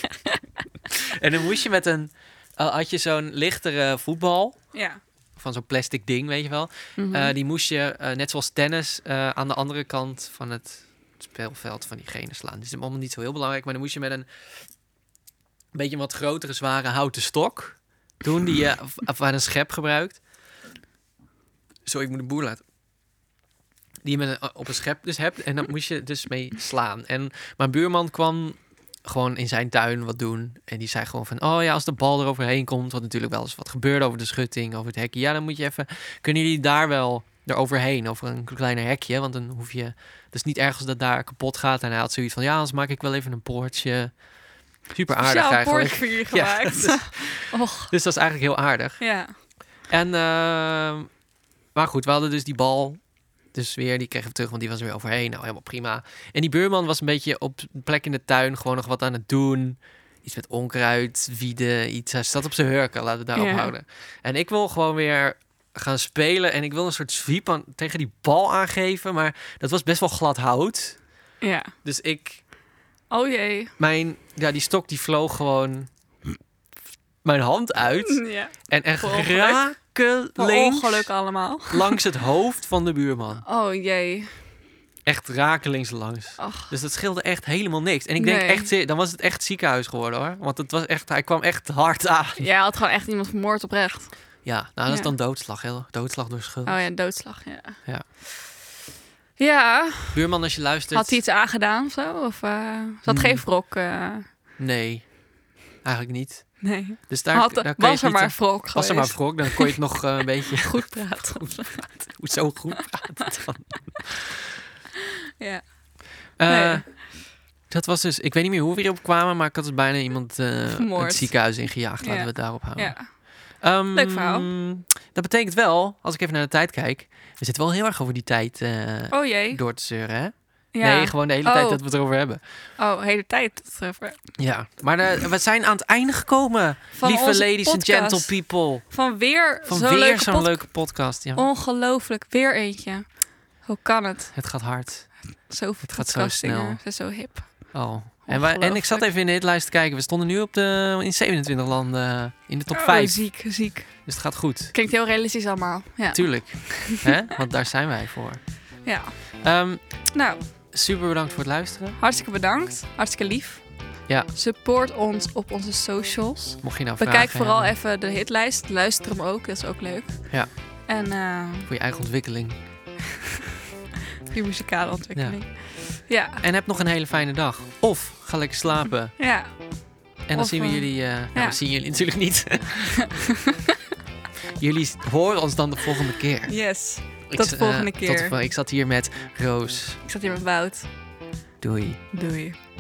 S1: en dan moest je met een... eh, had je zo'n lichtere voetbal...
S2: Ja.
S1: Van zo'n plastic ding, weet je wel.
S2: Mhm.
S1: Eh, die moest je, eh, net zoals tennis, eh, aan de andere kant van het speelveld van diegene slaan. Dus het is allemaal niet zo heel belangrijk. Maar dan moest je met een, een beetje een wat grotere, zware houten stok doen. Die je of- of aan een schep gebruikt. Zo, ik moet de boer laten. Die je met een, op een schep dus hebt. En dan moest je dus mee slaan. En mijn buurman kwam gewoon in zijn tuin wat doen. En die zei gewoon van, oh ja, als de bal eroverheen komt... wat natuurlijk wel eens wat gebeurde over de schutting, over het hekje... ja, dan moet je even kunnen jullie daar wel eroverheen, over een kleiner hekje? Want dan hoef je. Het is niet erg als dat daar kapot gaat. En hij had zoiets van: ja, anders maak ik wel even een poortje. Super aardig
S2: Speciaal
S1: eigenlijk.
S2: bord voor jullie
S1: Ja,
S2: gemaakt. Och,
S1: Dus dat is eigenlijk heel aardig.
S2: ja.
S1: En, ehm, maar goed, we hadden dus die bal. Dus weer, die kregen we terug, want die was er weer overheen. Nou, helemaal prima. En die buurman was een beetje op een plek in de tuin gewoon nog wat aan het doen. Iets met onkruid, wieden, iets. Hij zat op zijn hurken, laten we daarop
S2: Ja.
S1: houden. En ik wil gewoon weer gaan spelen. En ik wil een soort sweep aan, tegen die bal aangeven. Maar dat was best wel glad hout.
S2: Ja.
S1: Dus ik,
S2: Oh jee.
S1: mijn, ja, die stok die vloog gewoon mijn hand uit.
S2: Ja.
S1: En echt
S2: Voor ongeluk. Voor
S1: rakelings
S2: ongeluk allemaal.
S1: langs het hoofd van de buurman.
S2: Oh jee.
S1: Echt rakelings langs.
S2: Ach.
S1: Dus dat scheelde echt helemaal niks. En ik denk
S2: Nee.
S1: echt, zeer- dan was het echt ziekenhuis geworden hoor. Want het was echt, hij kwam echt hard aan.
S2: Jij had gewoon echt iemand vermoord oprecht.
S1: Ja, nou dat is
S2: Ja.
S1: dan doodslag. Heel, doodslag door schuld.
S2: Oh ja, doodslag, ja.
S1: Ja.
S2: Ja,
S1: Buurman, als je luistert.
S2: had hij iets aangedaan of zo? Of eh, zat
S1: Hmm.
S2: geen wrok? eh,
S1: Nee, eigenlijk niet.
S2: nee.
S1: Dus daar,
S2: had,
S1: daar kon je
S2: was
S1: het
S2: er
S1: niet-
S2: maar wrok
S1: Was er maar
S2: geweest.
S1: wrok, dan kon je het nog eh, een beetje
S2: Goed praten.
S1: zo goed praten. dan.
S2: ja.
S1: Eh,
S2: Nee.
S1: Dat was dus, ik weet niet meer hoe we hierop kwamen, maar ik had dus bijna iemand eh
S2: Vermoord.
S1: het ziekenhuis ingejaagd. Laten
S2: Ja.
S1: we het daarop houden.
S2: ja.
S1: Ehm,
S2: Leuk verhaal.
S1: Dat betekent wel, als ik even naar de tijd kijk, we zitten wel heel erg over die tijd eh,
S2: Oh jee.
S1: door te zeuren, hè?
S2: Ja.
S1: Nee, gewoon de hele
S2: Oh.
S1: tijd dat we het erover hebben.
S2: Oh, hele tijd. Trevor.
S1: Ja, maar eh, we zijn aan het einde gekomen,
S2: Van
S1: lieve
S2: onze
S1: ladies and
S2: podcast.
S1: gentle people.
S2: Van weer
S1: Van
S2: zo'n
S1: weer
S2: leuke
S1: zo'n
S2: podcast.
S1: leuke podcast. Ja,
S2: Ongelooflijk. Weer eentje. Hoe kan het?
S1: Het gaat hard.
S2: Zoveel
S1: Het gaat zo
S2: podcastingen.
S1: snel.
S2: Ze zijn zo hip.
S1: Oh. En, wij, en ik zat even in de hitlijst te kijken. We stonden nu op de, in 27 landen in de top
S2: Oh,
S1: 5.
S2: ziek, ziek.
S1: Dus het gaat goed.
S2: Klinkt heel realistisch allemaal. Ja.
S1: Tuurlijk. hè? Want daar zijn wij voor.
S2: ja.
S1: Ehm,
S2: Nou,
S1: super bedankt voor het luisteren.
S2: hartstikke bedankt. Hartstikke lief.
S1: Ja.
S2: Support ons op onze socials.
S1: Mocht je nou vragen
S2: Bekijk vooral
S1: hebben
S2: even de hitlijst. Luister hem ook, dat is ook leuk.
S1: Ja.
S2: En eh,
S1: voor je eigen ontwikkeling.
S2: je muzikale ontwikkeling. Ja.
S1: En heb nog een hele fijne dag. Of ga lekker slapen.
S2: Ja.
S1: En dan
S2: Of,
S1: zien we
S2: eh,
S1: jullie. eh nou,
S2: ja.
S1: we zien jullie natuurlijk niet. jullie horen ons dan de volgende keer.
S2: Yes.
S1: Ik
S2: Tot
S1: z-
S2: de
S1: eh,
S2: volgende
S1: Tot de
S2: keer.
S1: vol- ik zat hier met Roos.
S2: Ik zat hier met Wout.
S1: Doei.
S2: Doei.